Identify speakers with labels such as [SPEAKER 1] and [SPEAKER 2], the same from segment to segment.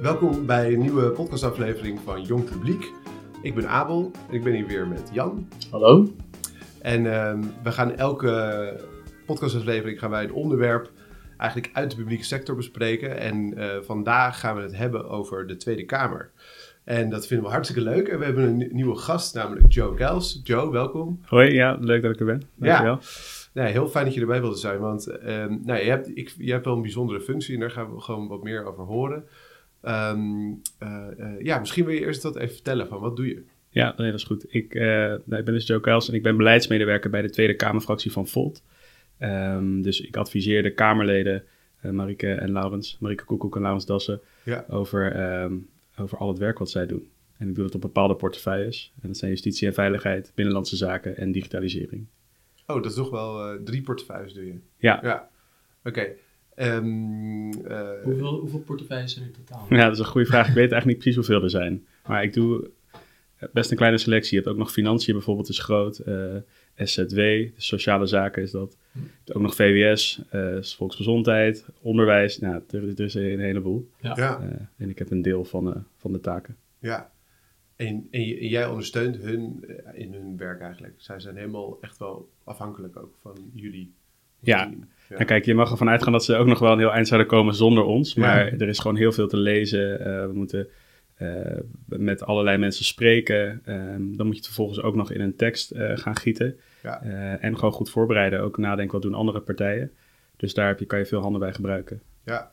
[SPEAKER 1] Welkom bij een nieuwe podcastaflevering van Jong Publiek. Ik ben Abel en ik ben hier weer met Jan.
[SPEAKER 2] Hallo.
[SPEAKER 1] En ehm, we gaan elke podcastaflevering gaan wij een onderwerp eigenlijk uit de publieke sector bespreken. En eh, vandaag gaan we het hebben over de Tweede Kamer. En dat vinden we hartstikke leuk. En we hebben een nieuwe gast, namelijk Joe Gels. Joe, welkom.
[SPEAKER 2] Hoi, ja, leuk dat ik er ben. Dankjewel.
[SPEAKER 1] Nee, heel fijn dat je erbij wilde zijn, want ehm, nou, je, hebt, ik, je hebt wel een bijzondere functie en daar gaan we gewoon wat meer over horen. Ehm, eh, eh, ja, misschien wil je eerst dat even vertellen van wat doe je?
[SPEAKER 2] Ja, nee, dat is goed. Ik, eh, nou, ik ben dus Joe Kuils en ik ben beleidsmedewerker bij de Tweede Kamerfractie van Volt. Ehm, dus ik adviseer de Kamerleden eh Marike en Laurens, Marike Koekoek en Laurens Dassen,
[SPEAKER 1] Ja.
[SPEAKER 2] over, ehm, over al het werk wat zij doen. En ik doe dat op bepaalde portefeuilles. En dat zijn justitie en veiligheid, binnenlandse zaken en digitalisering.
[SPEAKER 1] Oh, dat is toch wel eh, drie portefeuilles doe je?
[SPEAKER 2] Ja.
[SPEAKER 1] Ja, oké. Ehm, eh,
[SPEAKER 3] Hoeveel, hoeveel portefeuilles zijn er in totaal?
[SPEAKER 2] Ja, dat is een goede vraag. Ik weet eigenlijk niet precies hoeveel er zijn. Maar ik doe eh, best een kleine selectie. Je hebt ook nog financiën bijvoorbeeld, is groot. eh, SZW, dus sociale zaken is dat. Je hebt ook nog VWS, eh, is volksgezondheid, onderwijs. Nou, er, er is een heleboel.
[SPEAKER 1] ja,
[SPEAKER 2] Eh, en ik heb een deel van, eh, van de taken.
[SPEAKER 1] ja. En, en, j- en jij ondersteunt hun eh, in hun werk eigenlijk. Zij zijn helemaal echt wel afhankelijk ook van jullie.
[SPEAKER 2] Ja.
[SPEAKER 1] Ja.
[SPEAKER 2] En kijk, je mag ervan uitgaan dat ze ook nog wel een heel eind zouden komen zonder ons.
[SPEAKER 1] Ja.
[SPEAKER 2] Maar er is gewoon heel veel te lezen. Eh, we moeten eh, met allerlei mensen spreken. Ehm, dan moet je het vervolgens ook nog in een tekst eh, gaan gieten.
[SPEAKER 1] Ja.
[SPEAKER 2] Eh, en gewoon goed voorbereiden. Ook nadenken wat doen andere partijen. Dus daar heb je, kan je veel handen bij gebruiken.
[SPEAKER 1] ja.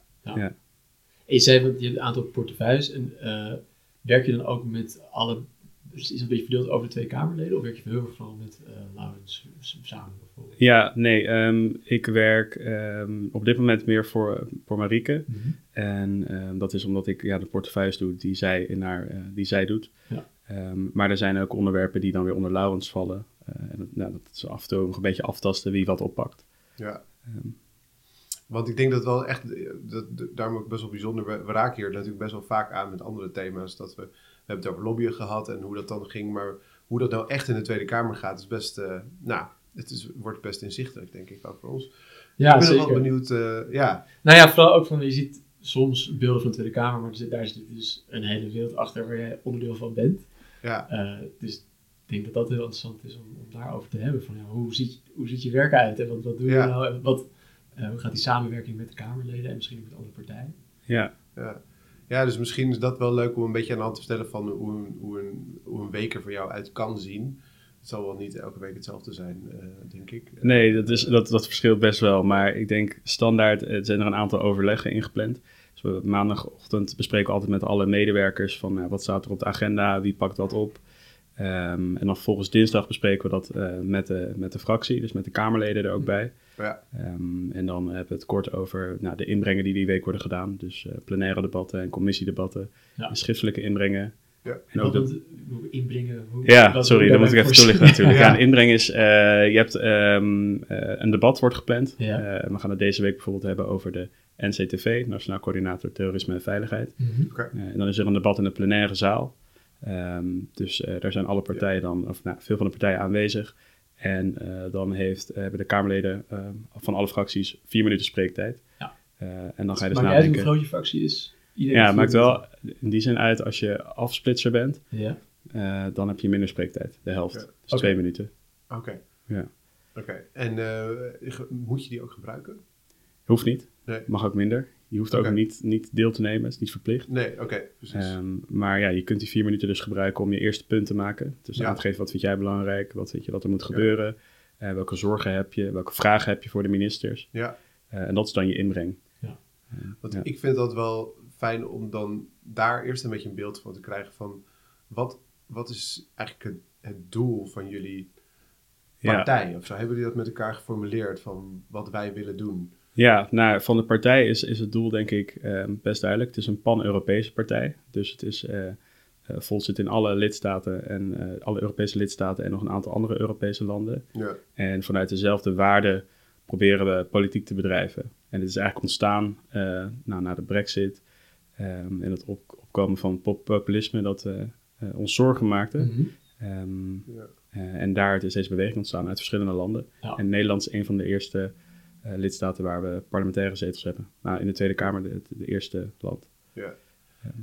[SPEAKER 3] En je zei van je hebt een aantal portefeuilles. En eh, werk je dan ook met alle. Dus is het een beetje verdeeld over de twee Kamerleden? Of werk je heel erg vooral met eh Laurens samen bijvoorbeeld?
[SPEAKER 2] Ja, nee, ehm, ik werk ehm, op dit moment meer voor, eh, voor Marieke. En ehm, dat is omdat ik ja, de portefeuilles doe die zij, in haar, eh, die zij doet.
[SPEAKER 3] Ja.
[SPEAKER 2] Ehm, maar er zijn ook onderwerpen die dan weer onder Laurens vallen. Eh, en dat, nou, dat is af en toe nog een beetje aftasten wie wat oppakt.
[SPEAKER 1] Ja.
[SPEAKER 2] Ehm.
[SPEAKER 1] Want ik denk dat wel echt, eh, dat, dat- daarom ook best wel bijzonder, we, we raken hier natuurlijk best wel vaak aan met andere thema's. Dat we, we hebben het over lobbyen gehad en hoe dat dan ging, maar hoe dat nou echt in de Tweede Kamer gaat is best, eh, nou, het is, wordt best inzichtelijk denk ik ook voor ons.
[SPEAKER 3] Ja,
[SPEAKER 1] ik ben
[SPEAKER 3] zeker.
[SPEAKER 1] wel benieuwd, eh, ja,
[SPEAKER 3] Nou ja, vooral ook van je ziet soms beelden van de Tweede Kamer, maar er zit, daar zit dus een hele wereld achter waar jij onderdeel van bent.
[SPEAKER 1] ja,
[SPEAKER 3] Eh, dus ik denk dat dat heel interessant is om, om daarover te hebben. Van, ja, hoe, ziet, hoe ziet je werk uit? En wat, wat doe
[SPEAKER 1] Ja.
[SPEAKER 3] je nou? En wat, eh, hoe gaat die samenwerking met de Kamerleden en misschien ook met andere partijen?
[SPEAKER 2] Ja,
[SPEAKER 1] ja. Ja, dus misschien is dat wel leuk om een beetje aan de hand te stellen van hoe een, hoe een, hoe een week er voor jou uit kan zien. Het zal wel niet elke week hetzelfde zijn, eh, denk ik.
[SPEAKER 2] nee, dat, is, dat, dat verschilt best wel. Maar ik denk standaard eh, zijn er een aantal overleggen ingepland. Dus we, maandagochtend bespreken we altijd met alle medewerkers van nou, wat staat er op de agenda, wie pakt dat op. Ehm, en dan volgens dinsdag bespreken we dat eh, met, de, met de fractie, dus met de Kamerleden er ook bij.
[SPEAKER 1] Ja,
[SPEAKER 2] Ehm, en dan hebben we het kort over nou, de inbrengen die die week worden gedaan. Dus eh, plenaire debatten en commissiedebatten.
[SPEAKER 3] Ja.
[SPEAKER 2] En schriftelijke inbrengen.
[SPEAKER 1] ja,
[SPEAKER 2] En
[SPEAKER 3] Wat
[SPEAKER 2] ook de-
[SPEAKER 3] dat- hoe inbrengen. Hoe,
[SPEAKER 2] Nou, ja,
[SPEAKER 3] wat
[SPEAKER 2] sorry,
[SPEAKER 3] hoe
[SPEAKER 2] dat moet ik
[SPEAKER 3] daarbij
[SPEAKER 2] even
[SPEAKER 3] voor-
[SPEAKER 2] toelichten natuurlijk.
[SPEAKER 1] Ja.
[SPEAKER 2] Ja, een inbreng is, eh, je hebt ehm, eh, een debat wordt gepland.
[SPEAKER 3] Ja.
[SPEAKER 2] Eh, we gaan het deze week bijvoorbeeld hebben over de NCTV, Nationaal Coördinator Terrorisme en Veiligheid.
[SPEAKER 3] Mhm.
[SPEAKER 2] Eh, en dan is er een debat in de plenaire zaal. Ehm, dus eh, daar zijn alle partijen dan, of nou, veel van de partijen aanwezig. En eh, dan heeft, eh, hebben de Kamerleden ehm, van alle fracties vier minuten spreektijd.
[SPEAKER 3] Ja.
[SPEAKER 2] Eh, en dan ga je dus
[SPEAKER 3] maakt niet uit hoe
[SPEAKER 2] nadenken.
[SPEAKER 3] groot je fractie is. Iedereen
[SPEAKER 2] ja,
[SPEAKER 3] heeft
[SPEAKER 2] maakt
[SPEAKER 3] een-
[SPEAKER 2] wel in die zin uit als je afsplitser bent,
[SPEAKER 3] Ja.
[SPEAKER 2] eh, dan heb je minder spreektijd, de helft.
[SPEAKER 1] Ja.
[SPEAKER 2] Dus
[SPEAKER 3] Oké.
[SPEAKER 2] twee minuten.
[SPEAKER 1] oké.
[SPEAKER 2] Ja.
[SPEAKER 1] Oké, en eh, ge- moet je die ook gebruiken?
[SPEAKER 2] Hoeft niet,
[SPEAKER 1] Nee.
[SPEAKER 2] mag ook minder. Je hoeft
[SPEAKER 1] Oké.
[SPEAKER 2] ook niet, niet deel te nemen, is niet verplicht.
[SPEAKER 1] Nee, oké, precies.
[SPEAKER 2] Ehm, maar ja, je kunt die vier minuten dus gebruiken om je eerste punt te maken. Dus
[SPEAKER 1] Ja.
[SPEAKER 2] aangeven wat vind jij belangrijk, wat vind je dat er moet gebeuren, eh, welke zorgen heb je, welke vragen heb je voor de ministers.
[SPEAKER 1] ja,
[SPEAKER 2] Eh, en dat is dan je inbreng.
[SPEAKER 1] want
[SPEAKER 2] ja.
[SPEAKER 1] ik vind dat wel fijn om dan daar eerst een beetje een beeld van te krijgen van wat, wat is eigenlijk het, het doel van jullie
[SPEAKER 2] Ja.
[SPEAKER 1] partij of zo? Hebben jullie dat met elkaar geformuleerd van wat wij willen doen?
[SPEAKER 2] Ja, nou, van de partij is, is het doel denk ik ehm, best duidelijk. Het is een pan-Europese partij. Dus het is, eh eh, Volt zit in alle lidstaten en eh, alle Europese lidstaten en nog een aantal andere Europese landen.
[SPEAKER 1] Ja,
[SPEAKER 2] En vanuit dezelfde waarden proberen we politiek te bedrijven. En dit is eigenlijk ontstaan eh, nou, na de brexit ehm, en het op- opkomen van pop- populisme dat eh, eh, ons zorgen maakte.
[SPEAKER 3] Mhm.
[SPEAKER 2] Ehm,
[SPEAKER 1] Ja.
[SPEAKER 2] eh, en daar is deze beweging ontstaan uit verschillende landen.
[SPEAKER 3] Ja.
[SPEAKER 2] En Nederland is een van de eerste eh, lidstaten waar we parlementaire zetels hebben. Nou, in de Tweede Kamer de, de eerste land.
[SPEAKER 1] ja.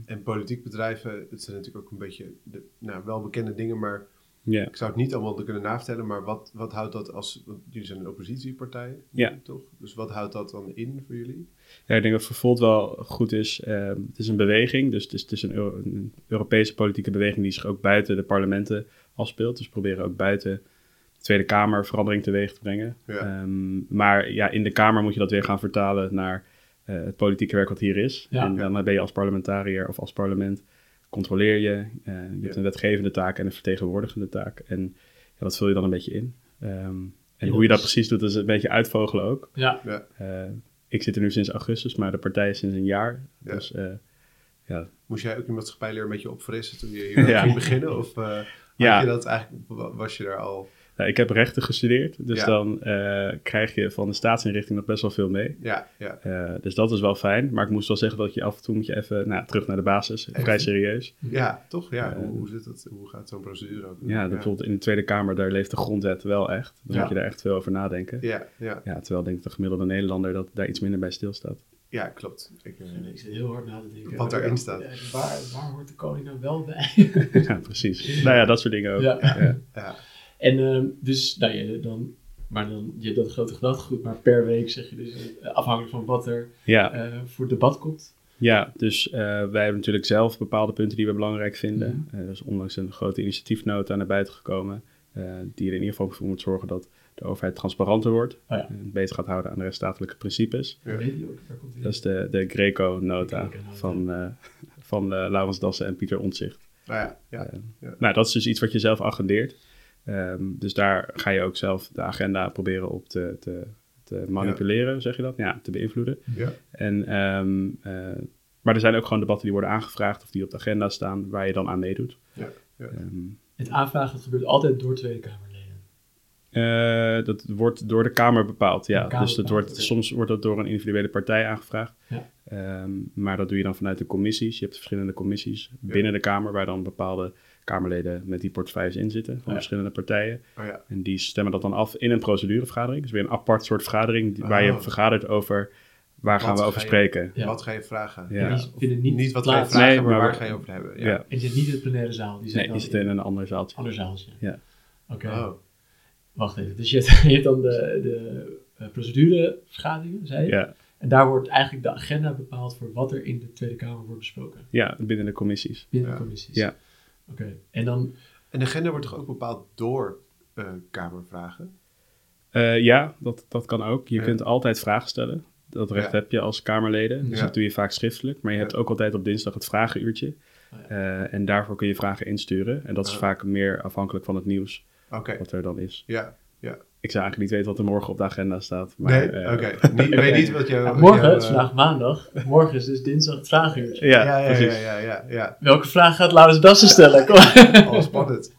[SPEAKER 1] En politiek bedrijven, het zijn natuurlijk ook een beetje de, nou, welbekende dingen, maar
[SPEAKER 2] Ja.
[SPEAKER 1] ik zou het niet allemaal kunnen navertellen. Maar wat, wat houdt dat als, want jullie zijn een oppositiepartij,
[SPEAKER 2] Ja.
[SPEAKER 1] toch? Dus wat houdt dat dan in voor jullie?
[SPEAKER 2] Ja, ik denk dat Vervold wel goed is. Ehm, het is een beweging, dus het is, het is een, Euro- een Europese politieke beweging die zich ook buiten de parlementen afspeelt. Dus we proberen ook buiten de Tweede Kamer verandering teweeg te brengen.
[SPEAKER 1] Ja.
[SPEAKER 2] Ehm, maar ja, in de Kamer moet je dat weer gaan vertalen naar eh, het politieke werk wat hier is.
[SPEAKER 3] Ja.
[SPEAKER 2] En dan eh, ben je als parlementariër of als parlement, controleer je. eh, je hebt
[SPEAKER 1] Ja.
[SPEAKER 2] een wetgevende taak en een vertegenwoordigende taak. En ja, dat vul je dan een beetje in. Ehm, en
[SPEAKER 3] Ja,
[SPEAKER 2] hoe je dat
[SPEAKER 3] dus-
[SPEAKER 2] precies doet, is een beetje uitvogelen ook.
[SPEAKER 3] Ja,
[SPEAKER 1] Ja,
[SPEAKER 2] Eh, ik zit er nu sinds augustus, maar de partij is sinds een jaar.
[SPEAKER 1] Ja.
[SPEAKER 2] Dus eh, ja.
[SPEAKER 1] moest jij ook je maatschappijleer een beetje opfrissen toen je hier
[SPEAKER 2] Ja.
[SPEAKER 1] ging beginnen? Of eh, had
[SPEAKER 2] Ja.
[SPEAKER 1] je dat eigenlijk, wa- was je daar al?
[SPEAKER 2] Nou, ik heb rechten gestudeerd, dus
[SPEAKER 1] Ja.
[SPEAKER 2] dan eh, krijg je van de staatsinrichting nog best wel veel mee.
[SPEAKER 1] Ja, ja.
[SPEAKER 2] Eh, dus dat is wel fijn, maar ik moest wel zeggen dat je af en toe moet je even nou, terug naar de basis. Vrij
[SPEAKER 1] Even.
[SPEAKER 2] serieus.
[SPEAKER 1] Ja, toch? Ja,
[SPEAKER 2] Eh,
[SPEAKER 1] hoe, hoe zit dat? Hoe gaat zo'n procedure ook?
[SPEAKER 2] Ja, dat bijvoorbeeld in de Tweede Kamer, daar leeft de grondwet wel echt. Dan
[SPEAKER 1] Ja.
[SPEAKER 2] moet je daar echt veel over nadenken. Ja.
[SPEAKER 1] Ja, ja,
[SPEAKER 2] terwijl denk ik de gemiddelde Nederlander dat daar iets minder bij stilstaat.
[SPEAKER 1] ja, klopt. Ik, eh,
[SPEAKER 3] ik zit heel hard na te denken.
[SPEAKER 1] Wat daarin staat.
[SPEAKER 3] Eh, Waar, waar hoort de koning nou wel bij?
[SPEAKER 2] ja, precies. Nou ja, dat soort dingen ook.
[SPEAKER 3] Ja.
[SPEAKER 2] Ja.
[SPEAKER 1] ja,
[SPEAKER 3] En ehm, dus, nou ja, dan, maar dan, je hebt dat grote gedachtegoed, maar per week zeg je dus, eh, afhankelijk van wat er
[SPEAKER 2] ja,
[SPEAKER 3] eh, voor debat komt.
[SPEAKER 2] Ja, dus eh, wij hebben natuurlijk zelf bepaalde punten die we belangrijk vinden.
[SPEAKER 3] Mhm.
[SPEAKER 2] Eh, er is onlangs een grote initiatiefnota naar buiten gekomen. eh, die er in ieder geval voor moet zorgen dat de overheid transparanter wordt.
[SPEAKER 3] Oh ja.
[SPEAKER 2] En beter gaat houden aan de rechtsstatelijke principes.
[SPEAKER 1] Ja.
[SPEAKER 3] Weet je ook, daar komt hij.
[SPEAKER 2] Dat is de, de Greco-nota
[SPEAKER 3] De Greco-nota.
[SPEAKER 2] van, eh, van eh, Laurens Dassen en Pieter Ontzicht.
[SPEAKER 1] nou ja, ja.
[SPEAKER 2] Nou, dat is dus iets wat je zelf agendeert. Ehm, dus daar ga je ook zelf de agenda proberen op te, te, te manipuleren, zeg je dat? Ja, te beïnvloeden.
[SPEAKER 1] ja.
[SPEAKER 2] En, ehm, eh, maar er zijn ook gewoon debatten die worden aangevraagd of die op de agenda staan, waar je dan aan meedoet.
[SPEAKER 1] Ja, ja.
[SPEAKER 2] Ehm,
[SPEAKER 3] Het aanvragen dat gebeurt altijd door Tweede Kamerleden.
[SPEAKER 2] eh, dat wordt door de Kamer bepaald, ja.
[SPEAKER 3] De Kamer
[SPEAKER 2] dus dat
[SPEAKER 3] bepaalt,
[SPEAKER 2] wordt,
[SPEAKER 3] oké.
[SPEAKER 2] soms wordt dat door een individuele partij aangevraagd.
[SPEAKER 3] Ja.
[SPEAKER 2] Ehm, maar dat doe je dan vanuit de commissies. Je hebt verschillende commissies binnen de Kamer, waar dan bepaalde Kamerleden met die portefeuilles in zitten van
[SPEAKER 3] ja.
[SPEAKER 2] verschillende partijen.
[SPEAKER 1] Oh ja.
[SPEAKER 2] En die stemmen dat dan af in een procedurevergadering. Dus weer een apart soort vergadering die- waar je
[SPEAKER 1] Oh.
[SPEAKER 2] vergadert over waar gaan we
[SPEAKER 1] ga
[SPEAKER 2] over
[SPEAKER 1] je-
[SPEAKER 2] spreken.
[SPEAKER 3] Ja.
[SPEAKER 1] Wat ga je vragen?
[SPEAKER 2] Ja.
[SPEAKER 3] En die vinden niet,
[SPEAKER 1] Niet wat ga je
[SPEAKER 3] plaats.
[SPEAKER 1] vragen,
[SPEAKER 2] Nee,
[SPEAKER 1] maar,
[SPEAKER 2] maar
[SPEAKER 1] waar
[SPEAKER 2] we-
[SPEAKER 1] ga je over hebben.
[SPEAKER 2] ja.
[SPEAKER 3] En die zit niet in de plenaire zaal. Die zit
[SPEAKER 2] Nee,
[SPEAKER 3] dan
[SPEAKER 2] die zitten in een ander zaaltje.
[SPEAKER 3] een ander zaaltje.
[SPEAKER 2] Ja.
[SPEAKER 3] Oké,
[SPEAKER 1] Oh,
[SPEAKER 3] wacht even. Dus je hebt, je hebt dan de, de eh, procedurevergaderingen, zei je?
[SPEAKER 2] Ja,
[SPEAKER 3] En daar wordt eigenlijk de agenda bepaald voor wat er in de Tweede Kamer wordt besproken.
[SPEAKER 2] ja, binnen de commissies.
[SPEAKER 3] Binnen
[SPEAKER 1] Ja.
[SPEAKER 3] de commissies.
[SPEAKER 2] Ja.
[SPEAKER 3] Oké, en dan
[SPEAKER 1] en de agenda wordt toch ook bepaald door eh, Kamervragen?
[SPEAKER 2] Eh, ja, dat, dat kan ook. Je
[SPEAKER 1] Ja.
[SPEAKER 2] kunt altijd vragen stellen. Dat recht
[SPEAKER 1] Ja.
[SPEAKER 2] heb je als Kamerleden. Dus
[SPEAKER 1] Ja.
[SPEAKER 2] dat doe je vaak schriftelijk. Maar je
[SPEAKER 1] Ja.
[SPEAKER 2] hebt ook altijd op dinsdag het vragenuurtje.
[SPEAKER 3] Oh ja.
[SPEAKER 2] Eh, en daarvoor kun je vragen insturen. En dat is
[SPEAKER 1] Ja.
[SPEAKER 2] vaak meer afhankelijk van het nieuws
[SPEAKER 1] Oké,
[SPEAKER 2] wat er dan is.
[SPEAKER 1] ja.
[SPEAKER 2] Ik zou eigenlijk niet weten wat er morgen op de agenda staat. Maar,
[SPEAKER 1] Nee,
[SPEAKER 2] eh,
[SPEAKER 1] oké. Niet- Ik weet niet wat je...
[SPEAKER 3] Ja,
[SPEAKER 1] wat
[SPEAKER 3] morgen,
[SPEAKER 1] je,
[SPEAKER 3] het is
[SPEAKER 1] eh,
[SPEAKER 3] vandaag maandag. Morgen is dus dinsdag het vragenuurtje.
[SPEAKER 2] Ja,
[SPEAKER 1] Ja, ja, ja,
[SPEAKER 2] precies.
[SPEAKER 1] ja, ja, ja.
[SPEAKER 3] Welke vraag gaat Laurens Dassen stellen? Kom.
[SPEAKER 1] Al spannend.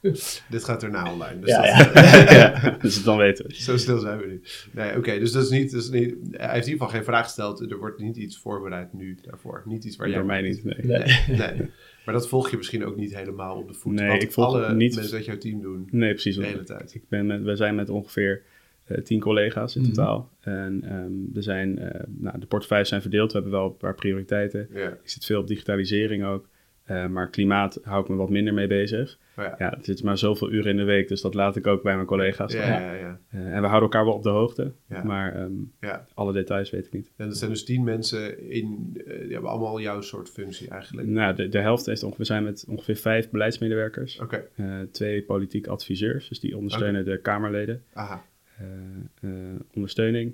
[SPEAKER 1] Dit gaat erna online. Dus
[SPEAKER 3] Ja,
[SPEAKER 1] dat-
[SPEAKER 2] Ja, dus het dan weten we.
[SPEAKER 1] Zo stil zijn we nu. Nee, oké. dus dat is niet, dat is niet... Hij heeft in ieder geval geen vraag gesteld. Er wordt niet iets voorbereid nu daarvoor. Niet iets waar
[SPEAKER 2] Door
[SPEAKER 1] jij...
[SPEAKER 2] mij niet, nee.
[SPEAKER 3] Nee.
[SPEAKER 1] Nee. Maar dat volg je misschien ook niet helemaal op de voet.
[SPEAKER 2] Nee,
[SPEAKER 1] wat
[SPEAKER 2] ik volg
[SPEAKER 1] alle
[SPEAKER 2] niet-
[SPEAKER 1] mensen uit jouw team doen
[SPEAKER 2] Nee, precies.
[SPEAKER 1] de hele tijd.
[SPEAKER 2] Ik ben met, we zijn met ongeveer eh, tien collega's in
[SPEAKER 3] Mhm.
[SPEAKER 2] totaal. En ehm, er zijn, eh, nou, de portefeuilles zijn verdeeld. We hebben wel een paar prioriteiten.
[SPEAKER 1] Ja,
[SPEAKER 2] Ik zit veel op digitalisering ook. Eh, maar klimaat hou ik me wat minder mee bezig.
[SPEAKER 1] maar ja.
[SPEAKER 2] Ja, er zitten maar zoveel uren in de week, dus dat laat ik ook bij mijn collega's.
[SPEAKER 1] Ja, ja, ja, ja.
[SPEAKER 2] Eh, en we houden elkaar wel op de hoogte,
[SPEAKER 1] Ja.
[SPEAKER 2] maar ehm,
[SPEAKER 1] ja.
[SPEAKER 2] alle details weet ik niet.
[SPEAKER 1] En dat zijn dus tien mensen in... eh, die hebben allemaal jouw soort functie eigenlijk.
[SPEAKER 2] Nou, de, de helft heeft ongeveer, we zijn met ongeveer vijf beleidsmedewerkers,
[SPEAKER 1] Oké,
[SPEAKER 2] eh, twee politiek adviseurs, dus die ondersteunen de Kamerleden,
[SPEAKER 1] aha.
[SPEAKER 2] eh, eh, ondersteuning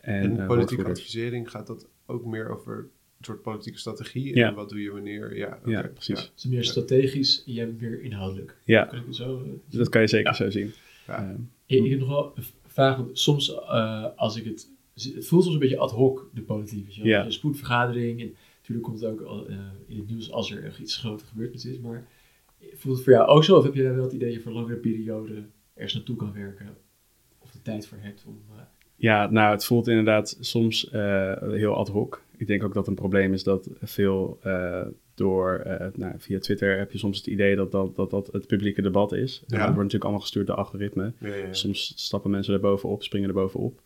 [SPEAKER 2] en,
[SPEAKER 1] En
[SPEAKER 2] eh,
[SPEAKER 1] politieke
[SPEAKER 2] woordvoerders.
[SPEAKER 1] advisering gaat dat ook meer over een soort politieke strategie?
[SPEAKER 2] Ja.
[SPEAKER 1] En wat doe je wanneer? Ja, oké,
[SPEAKER 2] Ja, precies.
[SPEAKER 1] ja.
[SPEAKER 3] Het is meer strategisch, jij bent meer inhoudelijk.
[SPEAKER 2] Ja,
[SPEAKER 3] Kan ik het zo, eh,
[SPEAKER 2] dat kan je zeker zo zien.
[SPEAKER 1] Ja.
[SPEAKER 2] Eh,
[SPEAKER 3] Ik, ik heb nog wel een v- vraag, want soms eh, als ik het... Het voelt soms een beetje ad hoc, de politiek. Weet je wel?
[SPEAKER 2] Ja.
[SPEAKER 3] Er is Een spoedvergadering. En natuurlijk komt het ook al, eh, in het nieuws als er echt iets grote gebeurtenis is. Maar voelt het voor jou ook zo? Of heb jij wel het idee dat je voor langere periode ergens naartoe kan werken? Of de tijd voor hebt om... eh,
[SPEAKER 2] Ja, nou, het voelt inderdaad soms eh, heel ad hoc. Ik denk ook dat een probleem is dat veel eh, door, eh, nou, via Twitter heb je soms het idee dat dat, dat, dat het publieke debat is. En
[SPEAKER 1] Ja.
[SPEAKER 2] Dat wordt natuurlijk allemaal gestuurd door algoritme.
[SPEAKER 1] Ja, ja, ja.
[SPEAKER 2] Soms stappen mensen er bovenop, springen er bovenop.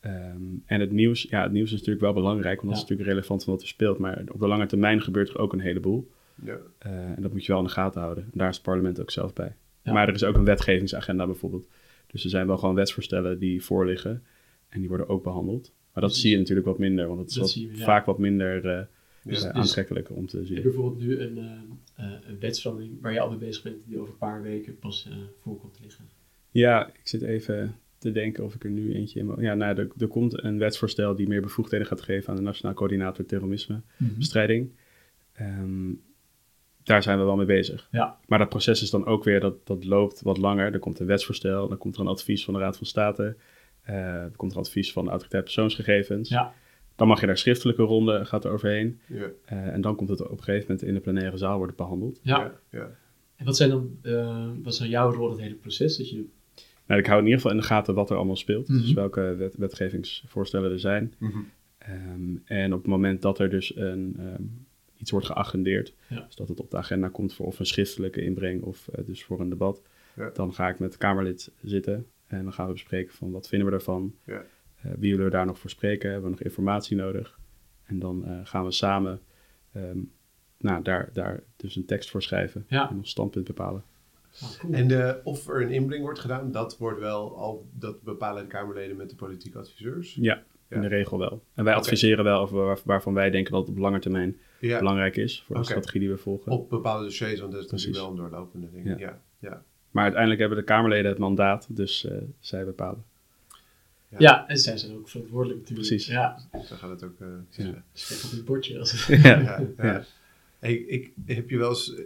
[SPEAKER 2] Ehm, en het nieuws, ja, het nieuws is natuurlijk wel belangrijk, want
[SPEAKER 3] Ja.
[SPEAKER 2] dat is natuurlijk relevant van wat er speelt. Maar op de lange termijn gebeurt er ook een heleboel.
[SPEAKER 1] Ja.
[SPEAKER 2] Eh, en dat moet je wel in de gaten houden. En daar is het parlement ook zelf bij.
[SPEAKER 3] Ja.
[SPEAKER 2] Maar er is ook een wetgevingsagenda bijvoorbeeld. Dus er zijn wel gewoon wetsvoorstellen die voorliggen. En die worden ook behandeld. Maar dat
[SPEAKER 3] Precies.
[SPEAKER 2] zie je natuurlijk wat minder. Want dat is
[SPEAKER 3] Dat
[SPEAKER 2] wat-
[SPEAKER 3] zie je, ja.
[SPEAKER 2] vaak wat minder eh,
[SPEAKER 1] Dus-
[SPEAKER 3] dus-
[SPEAKER 2] eh, aantrekkelijk om te
[SPEAKER 3] Je hebt
[SPEAKER 2] zien.
[SPEAKER 3] bijvoorbeeld nu een, eh, eh, een wetsverandering waar je al mee bezig bent, die over een paar weken pas eh, voor komt te liggen.
[SPEAKER 2] Ja, ik zit even te denken of ik er nu eentje in... mo- Ja, nou, er, er komt een wetsvoorstel die meer bevoegdheden gaat geven... aan de Nationaal Coördinator Terrorisme.
[SPEAKER 3] Dus,
[SPEAKER 2] bestrijding. Ehm, daar zijn we wel mee bezig.
[SPEAKER 3] Ja.
[SPEAKER 2] Maar dat proces is dan ook weer, dat, dat loopt wat langer. Er komt een wetsvoorstel, dan komt er een advies van de Raad van State. eh er komt er advies van de autoriteit persoonsgegevens.
[SPEAKER 3] Ja.
[SPEAKER 2] Dan mag je daar schriftelijke ronde, gaat er overheen.
[SPEAKER 1] Ja.
[SPEAKER 2] Eh, en dan komt het op een gegeven moment in de plenaire zaal worden behandeld.
[SPEAKER 3] Ja.
[SPEAKER 1] Ja. ja.
[SPEAKER 3] En wat zijn dan, eh, wat is dan jouw rol in het hele proces? Dat je,
[SPEAKER 2] Nou, ik hou in ieder geval in de gaten wat er allemaal speelt.
[SPEAKER 3] Mhm.
[SPEAKER 2] Dus welke wet- wetgevingsvoorstellen er zijn.
[SPEAKER 1] Mhm.
[SPEAKER 2] Ehm, en op het moment dat er dus een, ehm, iets wordt geagendeerd,
[SPEAKER 3] Ja.
[SPEAKER 2] dus dat het op de agenda komt voor of een schriftelijke inbreng of eh, dus voor een debat,
[SPEAKER 1] Ja.
[SPEAKER 2] dan ga ik met het Kamerlid zitten en dan gaan we bespreken van wat vinden we daarvan,
[SPEAKER 1] Ja.
[SPEAKER 2] Eh, wie willen we daar nog voor spreken, hebben we nog informatie nodig. En dan eh, gaan we samen ehm, nou, daar, daar dus een tekst voor schrijven
[SPEAKER 3] Ja.
[SPEAKER 2] en ons standpunt bepalen.
[SPEAKER 3] Ah, cool.
[SPEAKER 1] En de, of er een inbreng wordt gedaan, dat wordt wel al, dat bepalen de Kamerleden met de politieke adviseurs.
[SPEAKER 2] Ja, in
[SPEAKER 1] Ja.
[SPEAKER 2] de regel wel. En wij
[SPEAKER 1] Oké.
[SPEAKER 2] adviseren wel over waar- waarvan wij denken dat het op lange termijn
[SPEAKER 1] Ja,
[SPEAKER 2] belangrijk is voor de
[SPEAKER 1] Oké.
[SPEAKER 2] strategie die we volgen.
[SPEAKER 1] op bepaalde dossiers, want dat is natuurlijk
[SPEAKER 2] Precies.
[SPEAKER 1] wel een doorlopende ding. Ja. Ja. Ja.
[SPEAKER 2] Maar uiteindelijk hebben de Kamerleden het mandaat, dus eh, zij bepalen.
[SPEAKER 3] ja. en zij zijn ook verantwoordelijk natuurlijk.
[SPEAKER 2] Precies.
[SPEAKER 3] Ja,
[SPEAKER 1] Zo gaat het ook eh,
[SPEAKER 2] Ja.
[SPEAKER 3] spek op het bordje. Als
[SPEAKER 2] ja.
[SPEAKER 1] ja, ja.
[SPEAKER 2] Ja.
[SPEAKER 1] Hey, ik, heb je wel eens, eh,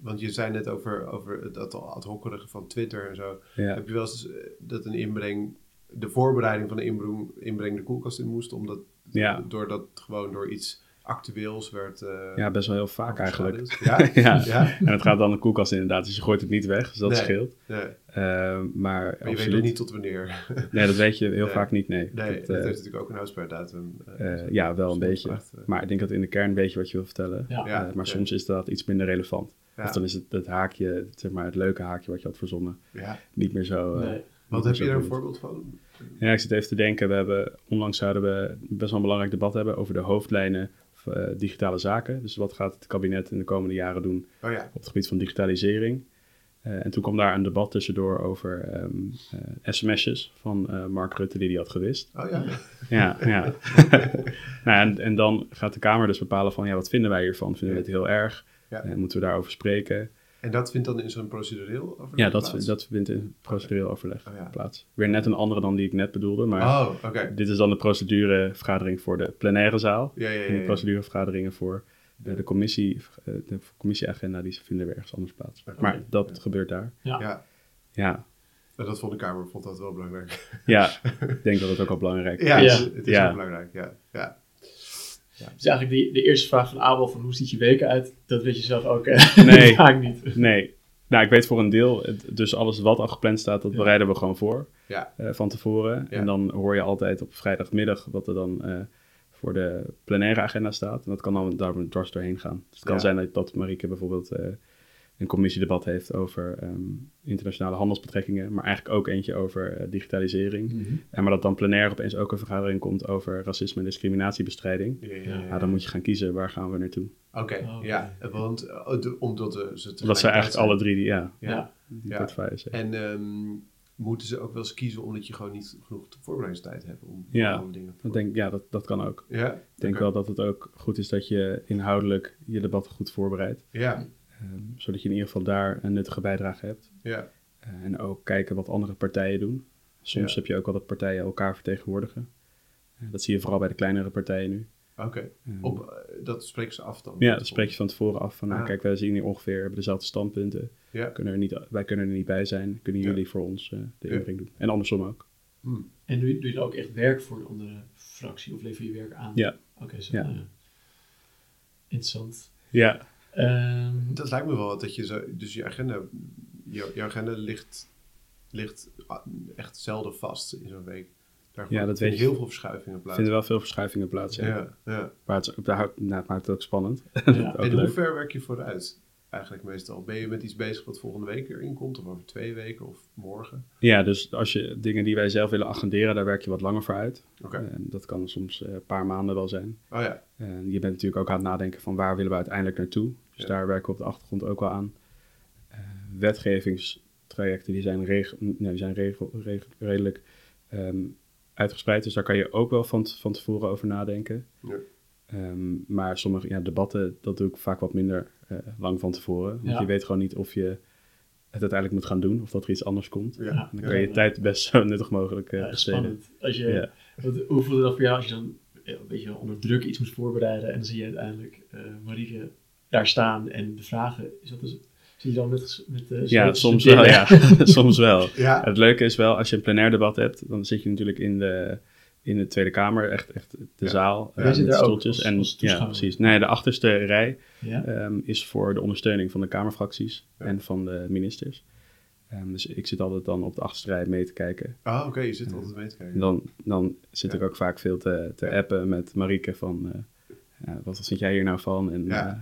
[SPEAKER 1] want je zei net over, over het ad- ad hockerige van Twitter en zo.
[SPEAKER 2] Ja.
[SPEAKER 1] Heb je wel eens eh, dat een inbreng, de voorbereiding van de inbreng, inbreng de koelkast in moest, omdat
[SPEAKER 2] Ja.
[SPEAKER 1] doordat het gewoon door iets actueels werd. eh,
[SPEAKER 2] best wel heel vaak eigenlijk.
[SPEAKER 1] overschaduwd?
[SPEAKER 2] ja.
[SPEAKER 1] Ja,
[SPEAKER 2] En het gaat dan de koelkast inderdaad, dus je gooit het niet weg, dus dat
[SPEAKER 1] Nee.
[SPEAKER 2] scheelt.
[SPEAKER 1] nee. maar
[SPEAKER 2] Eh, maar
[SPEAKER 1] je weet
[SPEAKER 2] absoluut.
[SPEAKER 1] nog niet tot wanneer.
[SPEAKER 2] Nee, dat weet je heel
[SPEAKER 1] Nee.
[SPEAKER 2] vaak niet, nee.
[SPEAKER 1] Nee,
[SPEAKER 2] Dat,
[SPEAKER 1] dat
[SPEAKER 2] eh,
[SPEAKER 1] heeft natuurlijk ook een uitspraakdatum.
[SPEAKER 2] eh, ja, wel een beetje. maar ik denk dat in de kern weet je wat je wil vertellen.
[SPEAKER 3] Ja.
[SPEAKER 1] eh. Ja,
[SPEAKER 2] Eh, maar
[SPEAKER 1] ja.
[SPEAKER 2] soms is dat iets minder relevant.
[SPEAKER 1] Ja.
[SPEAKER 2] Of dan is het, het haakje, zeg maar het leuke haakje wat je had verzonnen,
[SPEAKER 1] ja.
[SPEAKER 2] niet meer zo... eh,
[SPEAKER 3] Nee.
[SPEAKER 1] Wat
[SPEAKER 2] dat
[SPEAKER 1] heb
[SPEAKER 2] is
[SPEAKER 1] je
[SPEAKER 2] ook
[SPEAKER 1] daar een
[SPEAKER 2] niet.
[SPEAKER 1] voorbeeld van?
[SPEAKER 2] Ja, ik zit even te denken. We hebben, onlangs zouden we best wel een belangrijk debat hebben over de hoofdlijnen van eh, digitale zaken. Dus wat gaat het kabinet in de komende jaren doen
[SPEAKER 1] Oh ja,
[SPEAKER 2] op het gebied van digitalisering? Eh, en toen kwam daar een debat tussendoor over ehm eh, sms'jes van eh, Mark Rutte die die had gewist.
[SPEAKER 1] oh ja.
[SPEAKER 2] Ja, ja. nou, en, en dan gaat de Kamer dus bepalen van, ja, wat vinden wij hiervan? Vinden we het heel erg?
[SPEAKER 1] Ja.
[SPEAKER 2] Eh, moeten we daarover spreken?
[SPEAKER 1] En dat vindt dan in zo'n procedureel overleg
[SPEAKER 2] Ja, dat,
[SPEAKER 1] plaats?
[SPEAKER 2] dat vindt in procedureel overleg
[SPEAKER 1] Oh ja.
[SPEAKER 2] plaats. Weer net een andere dan die ik net bedoelde, maar...
[SPEAKER 1] Oh, oké.
[SPEAKER 2] Dit is dan de procedurevergadering voor de plenaire zaal.
[SPEAKER 1] Ja, ja, ja,
[SPEAKER 2] En de
[SPEAKER 1] ja.
[SPEAKER 2] procedurevergaderingen voor eh, de, commissie, eh, de commissieagenda, die vinden weer ergens anders plaats.
[SPEAKER 1] Oké.
[SPEAKER 2] Maar dat gebeurt daar.
[SPEAKER 1] Ja,
[SPEAKER 2] Ja.
[SPEAKER 1] en dat vond de Kamer vond dat wel belangrijk.
[SPEAKER 2] ja, ik denk dat het ook al belangrijk is.
[SPEAKER 1] Ja,
[SPEAKER 3] Ja.
[SPEAKER 1] het is- het is
[SPEAKER 2] Ja.
[SPEAKER 1] wel belangrijk. Ja, ja.
[SPEAKER 3] Dus eigenlijk die, de eerste vraag van Abel, van hoe ziet je weken uit? Dat weet je zelf ook. hè?
[SPEAKER 2] Nee.
[SPEAKER 3] Vaak niet.
[SPEAKER 2] Nee, nou ik weet voor een deel, het- dus alles wat al gepland staat, dat bereiden we gewoon voor
[SPEAKER 1] Ja.
[SPEAKER 2] eh, van tevoren.
[SPEAKER 1] Ja.
[SPEAKER 2] En dan hoor je altijd op vrijdagmiddag wat er dan eh, voor de plenaire agenda staat. En dat kan dan daar dwars doorheen gaan. Dus het kan
[SPEAKER 1] Ja.
[SPEAKER 2] zijn dat, dat Marieke bijvoorbeeld eh, een commissiedebat heeft over ehm, internationale handelsbetrekkingen, maar eigenlijk ook eentje over eh, digitalisering. En maar dat dan plenair opeens ook een vergadering komt over racisme en discriminatiebestrijding.
[SPEAKER 1] Ja, ja,
[SPEAKER 3] Ja.
[SPEAKER 1] ja.
[SPEAKER 2] Ja, dan moet je gaan kiezen, waar gaan we naartoe?
[SPEAKER 1] Oké,
[SPEAKER 3] Oh, oké.
[SPEAKER 1] ja. Want eh, de- omdat eh, ze
[SPEAKER 2] Dat zijn eigenlijk alle drie die, ja,
[SPEAKER 1] Ja.
[SPEAKER 3] Ja.
[SPEAKER 2] die
[SPEAKER 1] Ja.
[SPEAKER 2] portefeuilles hebben.
[SPEAKER 1] En ehm, moeten ze ook wel eens kiezen omdat je gewoon niet genoeg voorbereidingstijd hebt om
[SPEAKER 2] Ja,
[SPEAKER 1] alle dingen
[SPEAKER 2] Dat denk, ik- ja, dat, dat kan ook.
[SPEAKER 1] Ja,
[SPEAKER 2] Ik denk wel dat het ook goed is dat je inhoudelijk je debat goed voorbereidt.
[SPEAKER 1] Ja,
[SPEAKER 2] Ehm, zodat je in ieder geval daar een nuttige bijdrage hebt.
[SPEAKER 1] ja,
[SPEAKER 2] Eh, en ook kijken wat andere partijen doen. Soms
[SPEAKER 1] Ja.
[SPEAKER 2] heb je ook wel dat partijen elkaar vertegenwoordigen. Eh, dat zie je vooral bij de kleinere partijen nu.
[SPEAKER 1] oké.
[SPEAKER 2] Ehm,
[SPEAKER 1] Op, Ah. eh, dat spreken ze af dan?
[SPEAKER 2] ja, dan spreek je van tevoren af van, nou,
[SPEAKER 1] Ja.
[SPEAKER 2] kijk, wij zien hier ongeveer hebben dezelfde standpunten.
[SPEAKER 1] Ja.
[SPEAKER 2] Kunnen er niet, wij kunnen er niet bij zijn. Kunnen
[SPEAKER 1] Ja.
[SPEAKER 2] jullie voor ons eh, de
[SPEAKER 1] Ja.
[SPEAKER 2] inbreng doen? En andersom ook.
[SPEAKER 1] Hm,
[SPEAKER 3] En doe je, doe je dan ook echt werk voor een andere fractie? Of lever je werk aan?
[SPEAKER 2] Ja.
[SPEAKER 3] Oké, zo.
[SPEAKER 2] Ja.
[SPEAKER 3] nou ja. Interessant.
[SPEAKER 2] Ja,
[SPEAKER 3] Ehm,
[SPEAKER 1] Dat lijkt me wel wat, dat je zo... Dus je agenda, jouw, jouw agenda ligt, ligt ah, echt zelden vast in zo'n week. Daar
[SPEAKER 2] Ja,
[SPEAKER 1] vinden
[SPEAKER 2] dat weet je.
[SPEAKER 1] heel veel verschuivingen
[SPEAKER 2] er
[SPEAKER 1] plaats.
[SPEAKER 2] vinden wel veel verschuivingen plaats. Ja.
[SPEAKER 1] ja, ja.
[SPEAKER 2] Maar het, is- nou, het maakt het ook spannend.
[SPEAKER 3] ja.
[SPEAKER 1] en
[SPEAKER 2] Ook leuk.
[SPEAKER 1] hoe ver werk je vooruit? eigenlijk meestal ben je met iets bezig wat volgende week erin komt, of over twee weken of morgen.
[SPEAKER 2] Ja, dus als je dingen die wij zelf willen agenderen, daar werk je wat langer voor uit.
[SPEAKER 1] Oké.
[SPEAKER 2] En dat kan soms eh, een paar maanden wel zijn.
[SPEAKER 1] Oh ja,
[SPEAKER 2] En je bent natuurlijk ook aan het nadenken van waar willen we uiteindelijk naartoe. Dus
[SPEAKER 1] Ja.
[SPEAKER 2] daar werken we op de achtergrond ook wel aan. Eh, wetgevingstrajecten die zijn, reg- mm, nee, die zijn regel- reg- redelijk ehm, uitgespreid. Dus daar kan je ook wel van, t- van tevoren over nadenken.
[SPEAKER 1] Ja.
[SPEAKER 2] Ehm, maar sommige ja, debatten, dat doe ik vaak wat minder eh, lang van tevoren. Want
[SPEAKER 3] Ja.
[SPEAKER 2] je weet gewoon niet of je het uiteindelijk moet gaan doen of dat er iets anders komt.
[SPEAKER 1] ja.
[SPEAKER 2] En dan
[SPEAKER 1] ja.
[SPEAKER 2] kan je je tijd best zo nuttig mogelijk eh
[SPEAKER 3] Ja, echt
[SPEAKER 2] besteden.
[SPEAKER 3] spannend. Als je,
[SPEAKER 2] Ja.
[SPEAKER 3] want hoe voelde dat voor jou als je dan eh, een beetje onder druk iets moest voorbereiden en dan zie je uiteindelijk eh Marieke daar staan en de vragen. Is dat dus, zie je dan met... met eh,
[SPEAKER 2] Ja,
[SPEAKER 3] met-
[SPEAKER 2] soms
[SPEAKER 3] met-
[SPEAKER 2] wel. Ja, soms wel.
[SPEAKER 1] Ja.
[SPEAKER 2] Het leuke is wel, als je een plenair debat hebt, dan zit je natuurlijk in de, in de Tweede Kamer, echt, echt de
[SPEAKER 1] Ja.
[SPEAKER 2] zaal,
[SPEAKER 1] Ja,
[SPEAKER 2] eh,
[SPEAKER 3] zit
[SPEAKER 2] met
[SPEAKER 3] daar ook
[SPEAKER 2] stoeltjes.
[SPEAKER 3] als-
[SPEAKER 2] en,
[SPEAKER 3] als
[SPEAKER 2] ja,
[SPEAKER 3] toeschouwer.
[SPEAKER 2] precies. Nee, de achterste rij
[SPEAKER 3] Ja?
[SPEAKER 2] ehm, is voor de ondersteuning van de Kamerfracties
[SPEAKER 1] Ja.
[SPEAKER 2] en van de ministers. Ehm, dus ik zit altijd dan op de achterste rij mee te kijken.
[SPEAKER 1] Ah, oké, je zit altijd mee te
[SPEAKER 2] En
[SPEAKER 1] kijken.
[SPEAKER 2] dan, dan zit
[SPEAKER 1] Ja.
[SPEAKER 2] ik ook vaak veel te, te
[SPEAKER 1] Ja.
[SPEAKER 2] appen met Marieke van... eh, eh, wat vind jij hier nou van? En
[SPEAKER 1] Ja.
[SPEAKER 2] eh,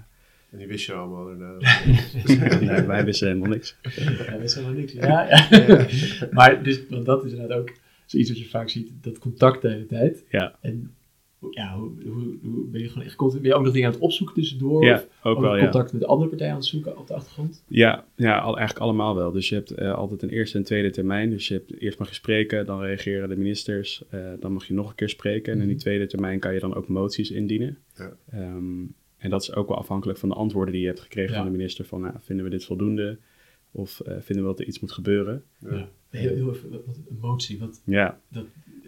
[SPEAKER 1] En die wist je allemaal. inderdaad.
[SPEAKER 2] nee, wij wisten helemaal niks.
[SPEAKER 3] Ja, dat is helemaal niks. Ja, ja. maar dus, want dat is inderdaad ook zoiets wat je vaak ziet, dat contact de hele tijd.
[SPEAKER 2] Ja.
[SPEAKER 3] En ja, hoe, hoe, hoe ben je gewoon echt constant, ben je ook nog dingen aan het opzoeken tussendoor?
[SPEAKER 2] Ja,
[SPEAKER 3] of
[SPEAKER 2] ook wel, ja.
[SPEAKER 3] contact met de andere partijen aan het zoeken op de achtergrond?
[SPEAKER 2] Ja, ja al, eigenlijk allemaal wel. Dus je hebt eh, altijd een eerste en tweede termijn. Dus je hebt eerst mag je spreken, dan reageren de ministers, eh, dan mag je nog een keer spreken. En in die tweede termijn kan je dan ook moties indienen.
[SPEAKER 1] Ja.
[SPEAKER 2] Ehm, en dat is ook wel afhankelijk van de antwoorden die je hebt gekregen
[SPEAKER 3] Ja.
[SPEAKER 2] van de minister. Van nou, vinden we dit voldoende? Of eh, vinden we dat er iets moet gebeuren?
[SPEAKER 1] Ja.
[SPEAKER 3] Heel, heel even, wat, wat een motie, wat
[SPEAKER 2] Ja,
[SPEAKER 3] dat,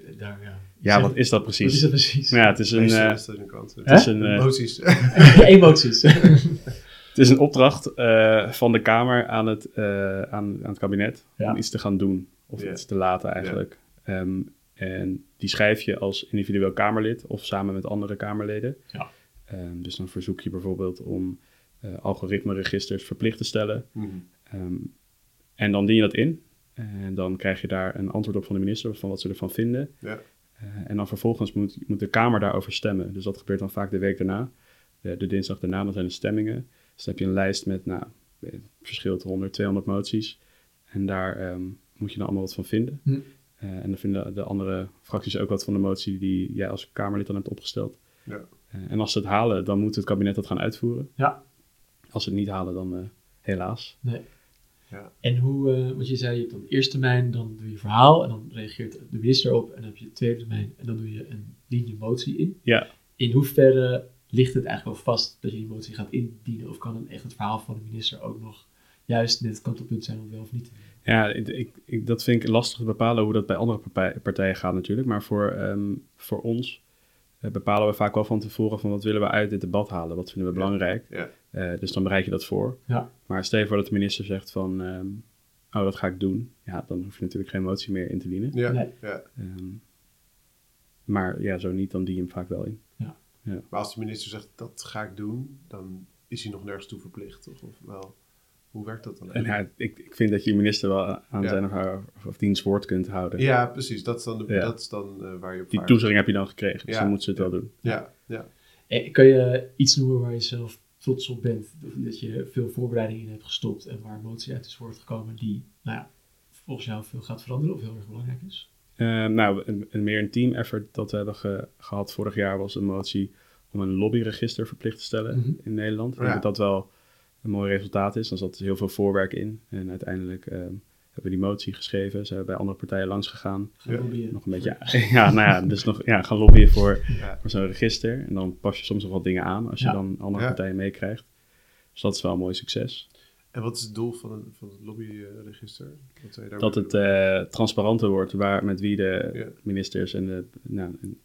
[SPEAKER 3] eh, daar, ja.
[SPEAKER 2] ja wat is dat
[SPEAKER 3] Wat is
[SPEAKER 2] precies?
[SPEAKER 3] dat precies?
[SPEAKER 2] Nou ja, het is een,
[SPEAKER 1] Meestal
[SPEAKER 2] eh,
[SPEAKER 1] is dat een kant.
[SPEAKER 2] het is een, eh,
[SPEAKER 1] Emoties.
[SPEAKER 3] Emoties.
[SPEAKER 2] Het is een opdracht eh, van de Kamer aan het, eh, aan, aan het kabinet
[SPEAKER 3] Ja.
[SPEAKER 2] om iets te gaan doen. Of
[SPEAKER 1] Ja.
[SPEAKER 2] iets te laten eigenlijk. Ehm, en die schrijf je als individueel Kamerlid of samen met andere Kamerleden.
[SPEAKER 3] Ja.
[SPEAKER 2] Ehm, dus dan verzoek je bijvoorbeeld om eh algoritmeregisters verplicht te stellen.
[SPEAKER 1] Mhm.
[SPEAKER 2] Ehm, en dan dien je dat in. En dan krijg je daar een antwoord op van de minister van wat ze ervan vinden.
[SPEAKER 1] Ja.
[SPEAKER 2] Eh, en dan vervolgens moet, moet de Kamer daarover stemmen. Dus dat gebeurt dan vaak de week daarna. De, de dinsdag daarna, dan zijn de stemmingen. Dus dan heb je een lijst met, nou, eh, verschilt 100, 200 moties. En daar ehm, moet je dan allemaal wat van vinden.
[SPEAKER 3] Hm.
[SPEAKER 2] Eh, en dan vinden de andere fracties ook wat van de motie die jij als Kamerlid dan hebt opgesteld.
[SPEAKER 1] Ja.
[SPEAKER 2] Eh, en als ze het halen, dan moet het kabinet dat gaan uitvoeren.
[SPEAKER 3] Ja.
[SPEAKER 2] Als ze het niet halen, dan eh, helaas.
[SPEAKER 3] En hoe, eh, want je zei, je hebt dan eerste termijn, dan doe je verhaal en dan reageert de minister op. En dan heb je tweede termijn en dan doe je een, dien je motie in.
[SPEAKER 2] Ja.
[SPEAKER 3] In hoeverre ligt het eigenlijk wel vast dat je die motie gaat indienen? Of kan dan echt het verhaal van de minister ook nog juist net het kantelpunt zijn om wel of niet te doen?
[SPEAKER 2] Ja, ik, ik- ik- dat vind ik lastig te bepalen hoe dat bij andere partij- partijen gaat natuurlijk. Maar voor, ehm, voor ons eh, bepalen we vaak wel van tevoren van wat willen we uit dit debat halen. Wat vinden we
[SPEAKER 1] Ja.
[SPEAKER 2] belangrijk.
[SPEAKER 1] Ja.
[SPEAKER 2] Eh, dus dan bereid je dat voor.
[SPEAKER 3] Ja.
[SPEAKER 2] Maar stel je voor dat de minister zegt van, ehm, oh dat ga ik doen. Ja, dan hoef je natuurlijk geen motie meer in te dienen.
[SPEAKER 1] Ja,
[SPEAKER 3] Nee.
[SPEAKER 1] ja.
[SPEAKER 2] Ehm, maar ja, zo niet, dan die hem vaak wel in.
[SPEAKER 1] Maar als de minister zegt dat ga ik doen, dan is hij nog nergens toe verplicht. Of, of wel, hoe werkt dat dan?
[SPEAKER 2] En
[SPEAKER 1] eigenlijk?
[SPEAKER 2] ja, ik, ik vind dat je je minister wel aan
[SPEAKER 1] Ja.
[SPEAKER 2] zijn of, haar, of diens woord kunt houden.
[SPEAKER 1] Ja, precies. Dat is dan, de-
[SPEAKER 2] Ja.
[SPEAKER 1] dat is dan eh, waar je op
[SPEAKER 2] Die
[SPEAKER 1] vaart.
[SPEAKER 2] toezegging heb je dan gekregen, dus
[SPEAKER 1] Ja.
[SPEAKER 2] dan moet ze het wel doen.
[SPEAKER 1] Ja, ja.
[SPEAKER 3] En Eh, kan je iets noemen waar je zelf trots op bent? Dat je veel voorbereiding in hebt gestopt en waar een motie uit is voortgekomen die, nou ja, volgens jou veel gaat veranderen of heel erg belangrijk is?
[SPEAKER 2] Eh, nou, een, een meer een team effort dat we hebben ge- gehad vorig jaar was een motie om een lobbyregister verplicht te stellen
[SPEAKER 3] Mhm.
[SPEAKER 2] in Nederland. Ik
[SPEAKER 1] Ja.
[SPEAKER 2] denk dat dat wel een mooi resultaat is. Dan zat er heel veel voorwerk in. En uiteindelijk ehm, hebben we die motie geschreven. Zijn we bij andere partijen langs gegaan.
[SPEAKER 3] Gaan
[SPEAKER 1] Ja.
[SPEAKER 3] proberen.
[SPEAKER 2] Nog een beetje, ja, nou ja, dus nog ja, gaan lobbyen voor,
[SPEAKER 1] Ja.
[SPEAKER 2] voor zo'n register. En dan pas je soms nog wat dingen aan als je
[SPEAKER 3] Ja.
[SPEAKER 2] dan andere
[SPEAKER 1] Ja.
[SPEAKER 2] partijen meekrijgt. Dus dat is wel een mooi succes.
[SPEAKER 1] En wat is het doel van het, van het lobbyregister? Wat zou je daarmee
[SPEAKER 2] Dat het
[SPEAKER 1] doen?
[SPEAKER 2] eh, transparanter wordt waar, met wie de
[SPEAKER 1] Ja.
[SPEAKER 2] ministers en de nou, en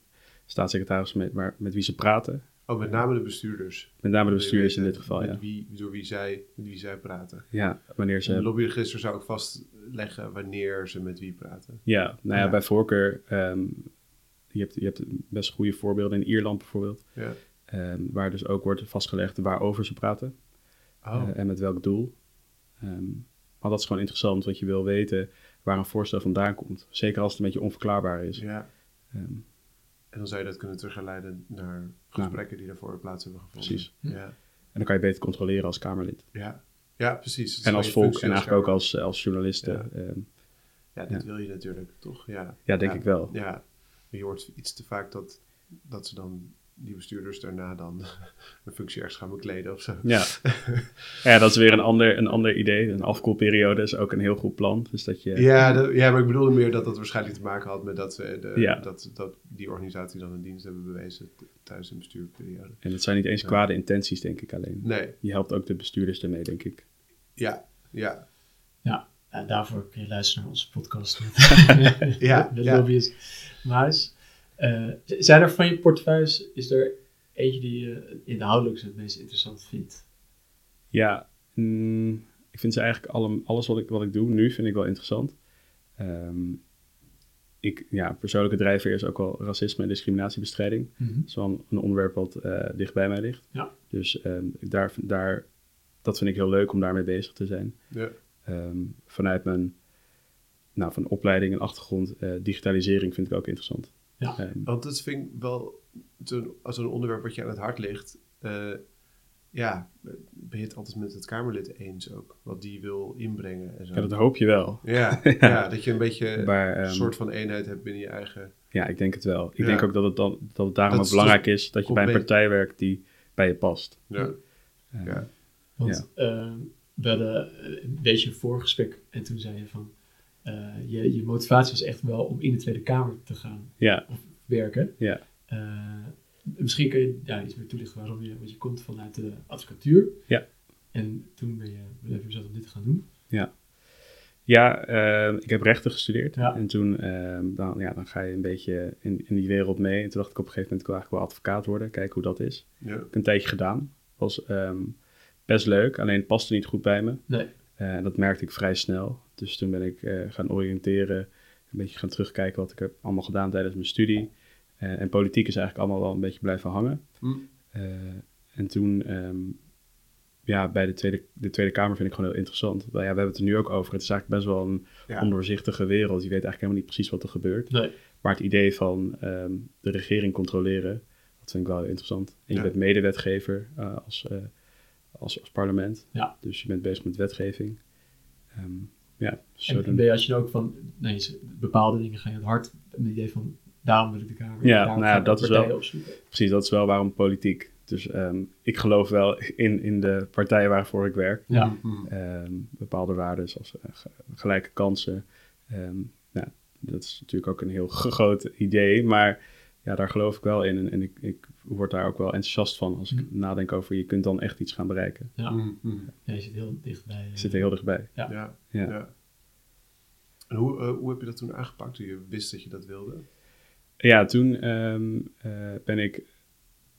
[SPEAKER 2] staatssecretaris met, waar, met wie ze praten.
[SPEAKER 1] Oh, met name de bestuurders.
[SPEAKER 2] Met name de
[SPEAKER 1] Wil je
[SPEAKER 2] bestuurders in
[SPEAKER 1] weten
[SPEAKER 2] dit geval,
[SPEAKER 1] met
[SPEAKER 2] ja.
[SPEAKER 1] Wie, door wie zij, met wie zij praten.
[SPEAKER 2] Ja, wanneer
[SPEAKER 1] Het
[SPEAKER 2] ze...
[SPEAKER 1] lobbyregister zou ook vastleggen wanneer ze met wie praten.
[SPEAKER 2] Ja, nou ja,
[SPEAKER 1] Ja.
[SPEAKER 2] bij voorkeur... ehm, je, hebt, je hebt best goede voorbeelden in Ierland bijvoorbeeld.
[SPEAKER 1] Ja.
[SPEAKER 2] ehm, waar dus ook wordt vastgelegd waarover ze praten.
[SPEAKER 1] Oh,
[SPEAKER 2] eh, en met welk doel. Ehm, maar dat is gewoon interessant, want je wil weten waar een voorstel vandaan komt. Zeker als het een beetje onverklaarbaar is.
[SPEAKER 1] ja.
[SPEAKER 2] Ehm,
[SPEAKER 1] En dan zou je dat kunnen terugleiden naar gesprekken die daarvoor plaats hebben gevonden.
[SPEAKER 2] Nou, Precies.
[SPEAKER 1] Ja.
[SPEAKER 2] En dan kan je beter controleren als Kamerlid.
[SPEAKER 1] Ja, ja precies. Het is
[SPEAKER 2] En als
[SPEAKER 1] Dus je
[SPEAKER 2] volk
[SPEAKER 1] functie
[SPEAKER 2] en eigenlijk ook
[SPEAKER 1] Kamer.
[SPEAKER 2] als, als journalisten. Ehm,
[SPEAKER 1] Ja, dit
[SPEAKER 2] ja.
[SPEAKER 1] wil je natuurlijk, toch? Ja,
[SPEAKER 2] Ja, denk ik wel.
[SPEAKER 1] Ja, Maar je hoort iets te vaak dat, dat ze dan, die bestuurders daarna dan een functie ergens gaan bekleden of zo.
[SPEAKER 2] Ja. ja, dat is weer een ander, een ander idee. Een afkoelperiode is ook een heel goed plan. Dus dat je...
[SPEAKER 1] Ja, dat- ja, maar ik bedoelde meer dat dat waarschijnlijk te maken had met dat, ze de,
[SPEAKER 2] Ja.
[SPEAKER 1] dat, dat die organisatie dan een dienst hebben bewezen t- tijdens een bestuurperiode.
[SPEAKER 2] En dat zijn niet eens kwade intenties, denk ik alleen.
[SPEAKER 1] Nee,
[SPEAKER 2] Je helpt ook de bestuurders ermee, denk ik.
[SPEAKER 1] ja, ja,
[SPEAKER 3] Ja, en Nou, daarvoor kun je luisteren naar onze podcast.
[SPEAKER 1] Ja,
[SPEAKER 3] de
[SPEAKER 1] ja.
[SPEAKER 3] lobbyist. Maar is, eh, z- zijn er van je portefeuilles, is er eentje die je inhoudelijk het meest interessant vindt?
[SPEAKER 2] Ja, mm, ik vind ze eigenlijk alle, alles wat ik, wat ik doe nu vind ik wel interessant. Ehm, ik, ja, persoonlijke drijfveer is ook wel racisme en discriminatiebestrijding.
[SPEAKER 1] Mhm.
[SPEAKER 2] Dat is wel een, een onderwerp wat eh, dicht bij mij ligt.
[SPEAKER 3] Ja.
[SPEAKER 2] Dus ehm, daar, daar, dat vind ik heel leuk om daarmee bezig te zijn.
[SPEAKER 1] ja,
[SPEAKER 2] Ehm, vanuit mijn nou, van opleiding en achtergrond, eh, digitalisering vind ik ook interessant.
[SPEAKER 3] Ja.
[SPEAKER 2] Ehm,
[SPEAKER 1] Want dat vind ik wel zo'n- als een onderwerp wat je aan het hart ligt. eh, ja, ben je het altijd met het Kamerlid eens ook? Wat die wil inbrengen en zo.
[SPEAKER 2] ja, dat hoop je wel.
[SPEAKER 1] Ja, ja, dat je een beetje
[SPEAKER 2] Maar,
[SPEAKER 1] een
[SPEAKER 2] ehm,
[SPEAKER 1] soort van eenheid hebt binnen je eigen.
[SPEAKER 2] Ja, ik denk het wel. Ik
[SPEAKER 1] Ja.
[SPEAKER 2] denk ook dat het, dan, dat het
[SPEAKER 1] Dat
[SPEAKER 2] daarom ook
[SPEAKER 1] is toch
[SPEAKER 2] belangrijk is dat je bij een
[SPEAKER 1] compleet-
[SPEAKER 2] partij werkt die bij je past.
[SPEAKER 1] Ja,
[SPEAKER 2] Eh,
[SPEAKER 1] ja.
[SPEAKER 3] Want eh, we hadden eh, een beetje een voorgesprek en toen zei je van, eh, je, je motivatie was echt wel om in de Tweede Kamer te gaan
[SPEAKER 2] ja,
[SPEAKER 3] werken.
[SPEAKER 2] ja,
[SPEAKER 3] Eh, misschien kun je daar iets meer toelichten waarom je, want je komt vanuit de advocatuur.
[SPEAKER 2] Ja.
[SPEAKER 3] En toen ben je, ben je besloten om dit te gaan doen.
[SPEAKER 2] ja. Ja, eh, ik heb rechten gestudeerd.
[SPEAKER 3] Ja.
[SPEAKER 2] En toen eh, dan, ja, dan ga je een beetje in, in die wereld mee. En toen dacht ik op een gegeven moment, ik wil eigenlijk wel advocaat worden. Kijken hoe dat is.
[SPEAKER 1] ja.
[SPEAKER 2] Heb ik een tijdje gedaan. Was ehm, best leuk, alleen het paste niet goed bij me.
[SPEAKER 3] Nee.
[SPEAKER 2] Eh, en dat merkte ik vrij snel. Dus toen ben ik eh, gaan oriënteren, een beetje gaan terugkijken wat ik heb allemaal gedaan tijdens mijn studie. Eh, en politiek is eigenlijk allemaal wel een beetje blijven hangen.
[SPEAKER 1] Hm.
[SPEAKER 2] Eh, en toen, ehm, ja, bij de Tweede, de Tweede Kamer vind ik gewoon heel interessant. Nou ja, we hebben het er nu ook over. Het is eigenlijk best wel een
[SPEAKER 1] Ja.
[SPEAKER 2] ondoorzichtige wereld. Je weet eigenlijk helemaal niet precies wat er gebeurt.
[SPEAKER 3] Nee.
[SPEAKER 2] Maar het idee van ehm, de regering controleren, dat vind ik wel heel interessant. En je
[SPEAKER 1] Ja.
[SPEAKER 2] bent medewetgever eh, als, eh, als, als parlement.
[SPEAKER 3] Ja.
[SPEAKER 2] Dus je bent bezig met wetgeving. Ehm, ja, zo
[SPEAKER 3] En
[SPEAKER 2] dan-
[SPEAKER 3] dan ben je als je dan ook van, nee, ze- bepaalde dingen ga je het hart, met het idee van, daarom wil ik de Kamer,
[SPEAKER 2] Ja,
[SPEAKER 3] daarom
[SPEAKER 2] nou ja,
[SPEAKER 3] ga ik
[SPEAKER 2] dat is
[SPEAKER 3] partijen
[SPEAKER 2] wel-
[SPEAKER 3] opzoeken.
[SPEAKER 2] Precies, dat is wel waarom politiek. Dus ehm, ik geloof wel in, in de partijen waarvoor ik werk.
[SPEAKER 3] Ja,
[SPEAKER 1] Mhm.
[SPEAKER 2] Ehm, bepaalde waarden zoals eh, ge- gelijke kansen. Ehm, nou, dat is natuurlijk ook een heel g- groot idee, maar ja, daar geloof ik wel in. En, en ik, ik word daar ook wel enthousiast van als ik nadenk over je kunt dan echt iets gaan bereiken.
[SPEAKER 3] ja.
[SPEAKER 1] Mhm.
[SPEAKER 3] Ja, je zit heel eh, dichtbij.
[SPEAKER 2] Ik zit er heel dichtbij.
[SPEAKER 1] Ja. Ja.
[SPEAKER 2] Ja.
[SPEAKER 1] En hoe, eh, hoe heb je dat toen aangepakt toen je wist dat je dat wilde?
[SPEAKER 2] Ja, toen ehm, eh, ben ik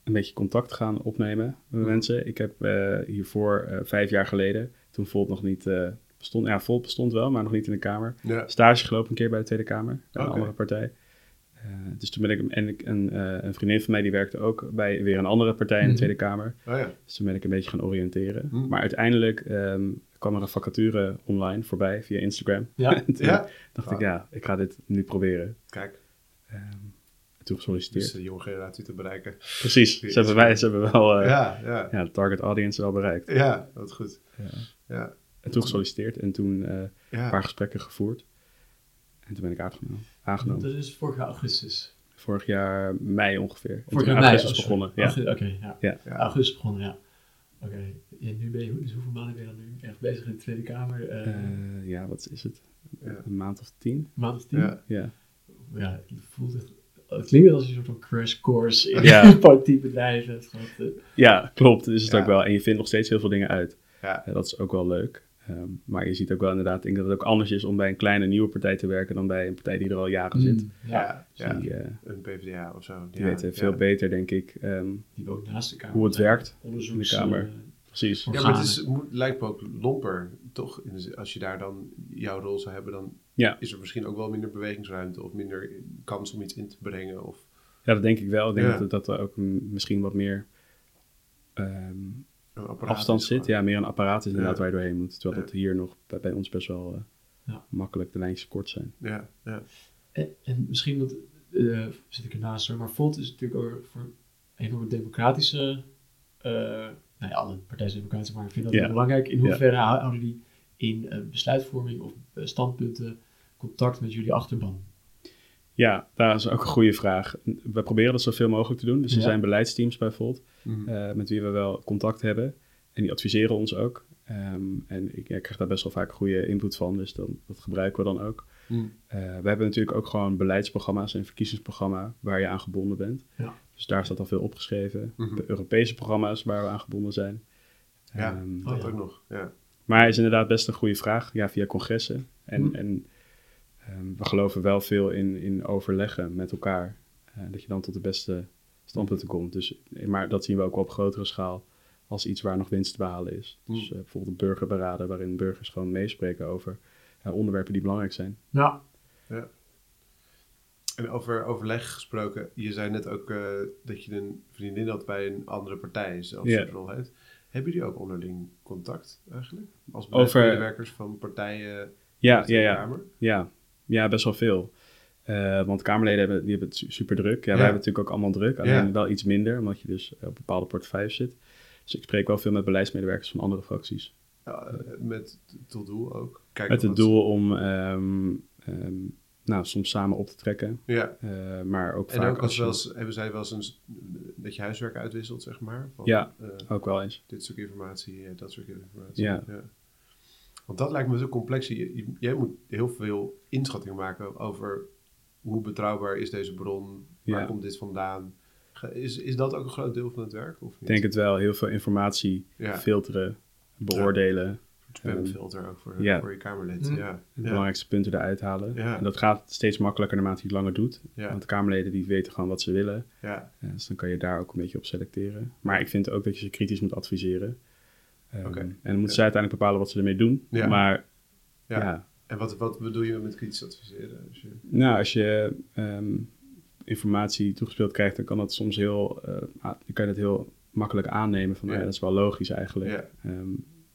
[SPEAKER 2] een beetje contact gaan opnemen met mensen. Ik heb eh, hiervoor eh, vijf jaar geleden, toen Volt nog niet eh, bestond, ja, Volt bestond wel, maar nog niet in de Kamer.
[SPEAKER 1] Ja.
[SPEAKER 2] Stage gelopen een keer bij de Tweede Kamer, bij
[SPEAKER 1] Oké.
[SPEAKER 2] een andere partij. Eh, dus toen ben ik, en ik, een, eh, een vriendin van mij die werkte ook bij weer een andere partij in de
[SPEAKER 3] Mhm.
[SPEAKER 2] Tweede Kamer.
[SPEAKER 1] Oh ja.
[SPEAKER 2] Dus toen ben ik een beetje gaan oriënteren.
[SPEAKER 1] Mhm.
[SPEAKER 2] Maar uiteindelijk ehm, kwam er een vacature online voorbij via Instagram.
[SPEAKER 3] Ja.
[SPEAKER 2] En toen
[SPEAKER 1] Ja.
[SPEAKER 2] dacht ik, ja, ik ga dit nu proberen.
[SPEAKER 1] Kijk,
[SPEAKER 2] Ehm, toen
[SPEAKER 1] dus
[SPEAKER 2] gesolliciteerd.
[SPEAKER 1] de jonge generatie te bereiken.
[SPEAKER 2] Precies, ze hebben, wij, ze hebben wel eh, ja.
[SPEAKER 1] Ja, ja.
[SPEAKER 2] de target audience wel bereikt.
[SPEAKER 1] Ja, wat goed.
[SPEAKER 2] Ja.
[SPEAKER 1] Ja,
[SPEAKER 2] En toen gesolliciteerd en toen eh, een paar
[SPEAKER 1] ja.
[SPEAKER 2] gesprekken gevoerd. En toen ben ik aangenomen.
[SPEAKER 3] Dat
[SPEAKER 2] aangenomen.
[SPEAKER 3] is vorig jaar augustus.
[SPEAKER 2] Vorig jaar mei ongeveer. En
[SPEAKER 3] Vorig
[SPEAKER 2] toen
[SPEAKER 3] jaar mei,
[SPEAKER 2] augustus
[SPEAKER 3] oh, sorry.
[SPEAKER 2] begonnen. Ja.
[SPEAKER 3] Augu- Oké, ja.
[SPEAKER 2] Ja.
[SPEAKER 1] Ja.
[SPEAKER 3] Augustus begonnen, ja. Oké, en nu ben je, dus hoeveel maanden ben je dan nu echt bezig in de Tweede Kamer? Eh
[SPEAKER 2] Eh, ja, wat is het?
[SPEAKER 1] Ja.
[SPEAKER 2] Een maand of tien?
[SPEAKER 3] maand of tien? Ja.
[SPEAKER 1] Ja.
[SPEAKER 2] Ja,
[SPEAKER 3] het voelt echt, het klinkt als een soort van crash course in
[SPEAKER 2] Ja.
[SPEAKER 3] politiek bedrijven. Het gaat, eh,
[SPEAKER 2] ja klopt. Is het
[SPEAKER 1] Ja.
[SPEAKER 2] ook wel. En je vindt nog steeds heel veel dingen uit.
[SPEAKER 1] Ja.
[SPEAKER 2] Eh, dat is ook wel leuk. Ehm, maar je ziet ook wel inderdaad, ik denk dat het ook anders is om bij een kleine nieuwe partij te werken dan bij een partij die er al jaren zit.
[SPEAKER 3] mm, ja,
[SPEAKER 1] Ja, ja.
[SPEAKER 2] Die, eh,
[SPEAKER 1] Een PvdA of zo.
[SPEAKER 2] die
[SPEAKER 1] ja,
[SPEAKER 2] weten veel
[SPEAKER 1] ja.
[SPEAKER 2] beter, denk ik, ehm,
[SPEAKER 3] die ook naast de Kamer.
[SPEAKER 2] hoe het werkt.
[SPEAKER 3] Onderzoeks,
[SPEAKER 2] in de Kamer.
[SPEAKER 3] eh,
[SPEAKER 2] Precies.
[SPEAKER 1] Ja, maar het is, moet- lijkt me ook lomper, toch? In de zin- Als je daar dan jouw rol zou hebben, dan
[SPEAKER 2] Ja.
[SPEAKER 1] is er misschien ook wel minder bewegingsruimte of minder kans om iets in te brengen. Of,
[SPEAKER 2] Ja, dat denk ik wel. Ik denk
[SPEAKER 1] Ja.
[SPEAKER 2] dat, dat er ook m- misschien wat meer ehm,
[SPEAKER 1] een apparaat
[SPEAKER 2] afstand
[SPEAKER 1] is
[SPEAKER 2] zit.
[SPEAKER 1] gewoon-
[SPEAKER 2] Ja, meer een apparaat is inderdaad
[SPEAKER 1] Ja.
[SPEAKER 2] waar je doorheen moet. Terwijl
[SPEAKER 1] Ja.
[SPEAKER 2] dat hier nog bij, bij ons best wel eh,
[SPEAKER 3] Ja.
[SPEAKER 2] makkelijk de lijntjes kort zijn.
[SPEAKER 1] Ja, ja.
[SPEAKER 3] En, en misschien dat, eh, zit ik ernaast hoor, maar Volt is natuurlijk ook voor een enorme democratische eh, nou ja, alle partijen zijn democratisch, maar ik vind dat
[SPEAKER 2] Ja.
[SPEAKER 3] wel belangrijk. In hoeverre hou- houden die in eh, besluitvorming of eh, standpunten contact met jullie achterban?
[SPEAKER 2] Ja, daar is ook een goede vraag. We proberen dat zoveel mogelijk te doen. Dus er
[SPEAKER 3] Ja.
[SPEAKER 2] zijn beleidsteams bijvoorbeeld,
[SPEAKER 1] Mhm.
[SPEAKER 2] eh, met wie we wel contact hebben. En die adviseren ons ook. Ehm, en ik, ja, ik krijg daar best wel vaak goede input van, dus dan, dat gebruiken we dan ook.
[SPEAKER 1] Mhm.
[SPEAKER 2] Eh, we hebben natuurlijk ook gewoon beleidsprogramma's en verkiezingsprogramma waar je aan gebonden bent.
[SPEAKER 3] Ja.
[SPEAKER 2] Dus daar staat al veel opgeschreven.
[SPEAKER 1] Mhm.
[SPEAKER 2] De Europese programma's waar we aan gebonden zijn.
[SPEAKER 1] Ja. Oh,
[SPEAKER 2] Ehm,
[SPEAKER 1] Dat
[SPEAKER 3] ja.
[SPEAKER 1] ook nog. Ja.
[SPEAKER 2] maar is inderdaad best een goede vraag. Ja, via congressen. En,
[SPEAKER 3] Hmm.
[SPEAKER 2] en ehm, we geloven wel veel in, in overleggen met elkaar. Eh, dat je dan tot de beste standpunten komt. Dus, maar dat zien we ook wel op grotere schaal als iets waar nog winst te behalen is. Dus eh, bijvoorbeeld een burgerberaden waarin burgers gewoon meespreken over eh, onderwerpen die belangrijk zijn.
[SPEAKER 3] Nou,
[SPEAKER 1] En over overleg gesproken, je zei net ook eh, dat je een vriendin had bij een andere partij, zelfs
[SPEAKER 2] Ja.
[SPEAKER 1] yeah. heeft. Hebben jullie ook onderling contact eigenlijk? Als
[SPEAKER 2] Over-
[SPEAKER 1] medewerkers van partijen
[SPEAKER 2] Ja,
[SPEAKER 1] uit de
[SPEAKER 2] ja, ja.
[SPEAKER 1] Kamer?
[SPEAKER 2] Ja, ja best wel veel. Eh, want Kamerleden hebben, die hebben het super druk.
[SPEAKER 1] Ja.
[SPEAKER 2] Ja, wij hebben natuurlijk ook allemaal druk. Alleen
[SPEAKER 1] Ja.
[SPEAKER 2] wel iets minder, omdat je dus op bepaalde portefeuilles zit. Dus ik spreek wel veel met beleidsmedewerkers van andere fracties.
[SPEAKER 1] Ja, eh, met tot doel ook. Kijk
[SPEAKER 2] met het doel om ehm, ehm, nou, soms samen op te trekken.
[SPEAKER 1] Ja.
[SPEAKER 2] Eh, maar ook
[SPEAKER 1] En
[SPEAKER 2] vaak
[SPEAKER 1] ook als
[SPEAKER 2] als
[SPEAKER 1] wel
[SPEAKER 2] je-
[SPEAKER 1] eens, hebben zij wel eens een s- dat je huiswerk uitwisselt, zeg maar. Van,
[SPEAKER 2] Ja.
[SPEAKER 1] eh,
[SPEAKER 2] Ook wel eens.
[SPEAKER 1] dit stuk informatie, eh, dat soort informatie.
[SPEAKER 2] Ja.
[SPEAKER 1] Want dat lijkt me zo complex. Je- je- Jij moet heel veel inschattingen maken over hoe betrouwbaar is deze bron, waar
[SPEAKER 2] Ja.
[SPEAKER 1] komt dit vandaan. Ge- Is, is dat ook een groot deel van het werk? Of
[SPEAKER 2] Ik
[SPEAKER 1] niet?
[SPEAKER 2] denk het wel. Heel veel informatie
[SPEAKER 1] Ja.
[SPEAKER 2] filteren, beoordelen.
[SPEAKER 1] Een spamfilter ook voor,
[SPEAKER 2] ehm, Ja.
[SPEAKER 1] voor je Kamerlid.
[SPEAKER 3] Mm.
[SPEAKER 1] Ja.
[SPEAKER 2] De
[SPEAKER 1] Ja.
[SPEAKER 2] belangrijkste punten eruit halen.
[SPEAKER 1] Ja.
[SPEAKER 2] En dat gaat steeds makkelijker naarmate je het langer doet.
[SPEAKER 1] Ja.
[SPEAKER 2] Want de Kamerleden die weten gewoon wat ze willen.
[SPEAKER 1] Ja.
[SPEAKER 2] Ja, dus dan kan je daar ook een beetje op selecteren. Maar ik vind ook dat je ze kritisch moet adviseren. Ehm,
[SPEAKER 1] Oké.
[SPEAKER 2] En dan moeten
[SPEAKER 1] Ja.
[SPEAKER 2] zij uiteindelijk bepalen wat ze ermee doen.
[SPEAKER 1] Ja.
[SPEAKER 2] Maar
[SPEAKER 1] Ja.
[SPEAKER 2] ja.
[SPEAKER 1] En wat, wat bedoel je met kritisch adviseren? Als je-
[SPEAKER 2] nou, als je ehm, informatie toegespeeld krijgt, dan kan dat soms heel, eh, a- dan kan je dat heel makkelijk aannemen. Van,
[SPEAKER 1] Ja.
[SPEAKER 2] ja. dat is wel logisch eigenlijk.
[SPEAKER 1] Ja.
[SPEAKER 2] Ehm,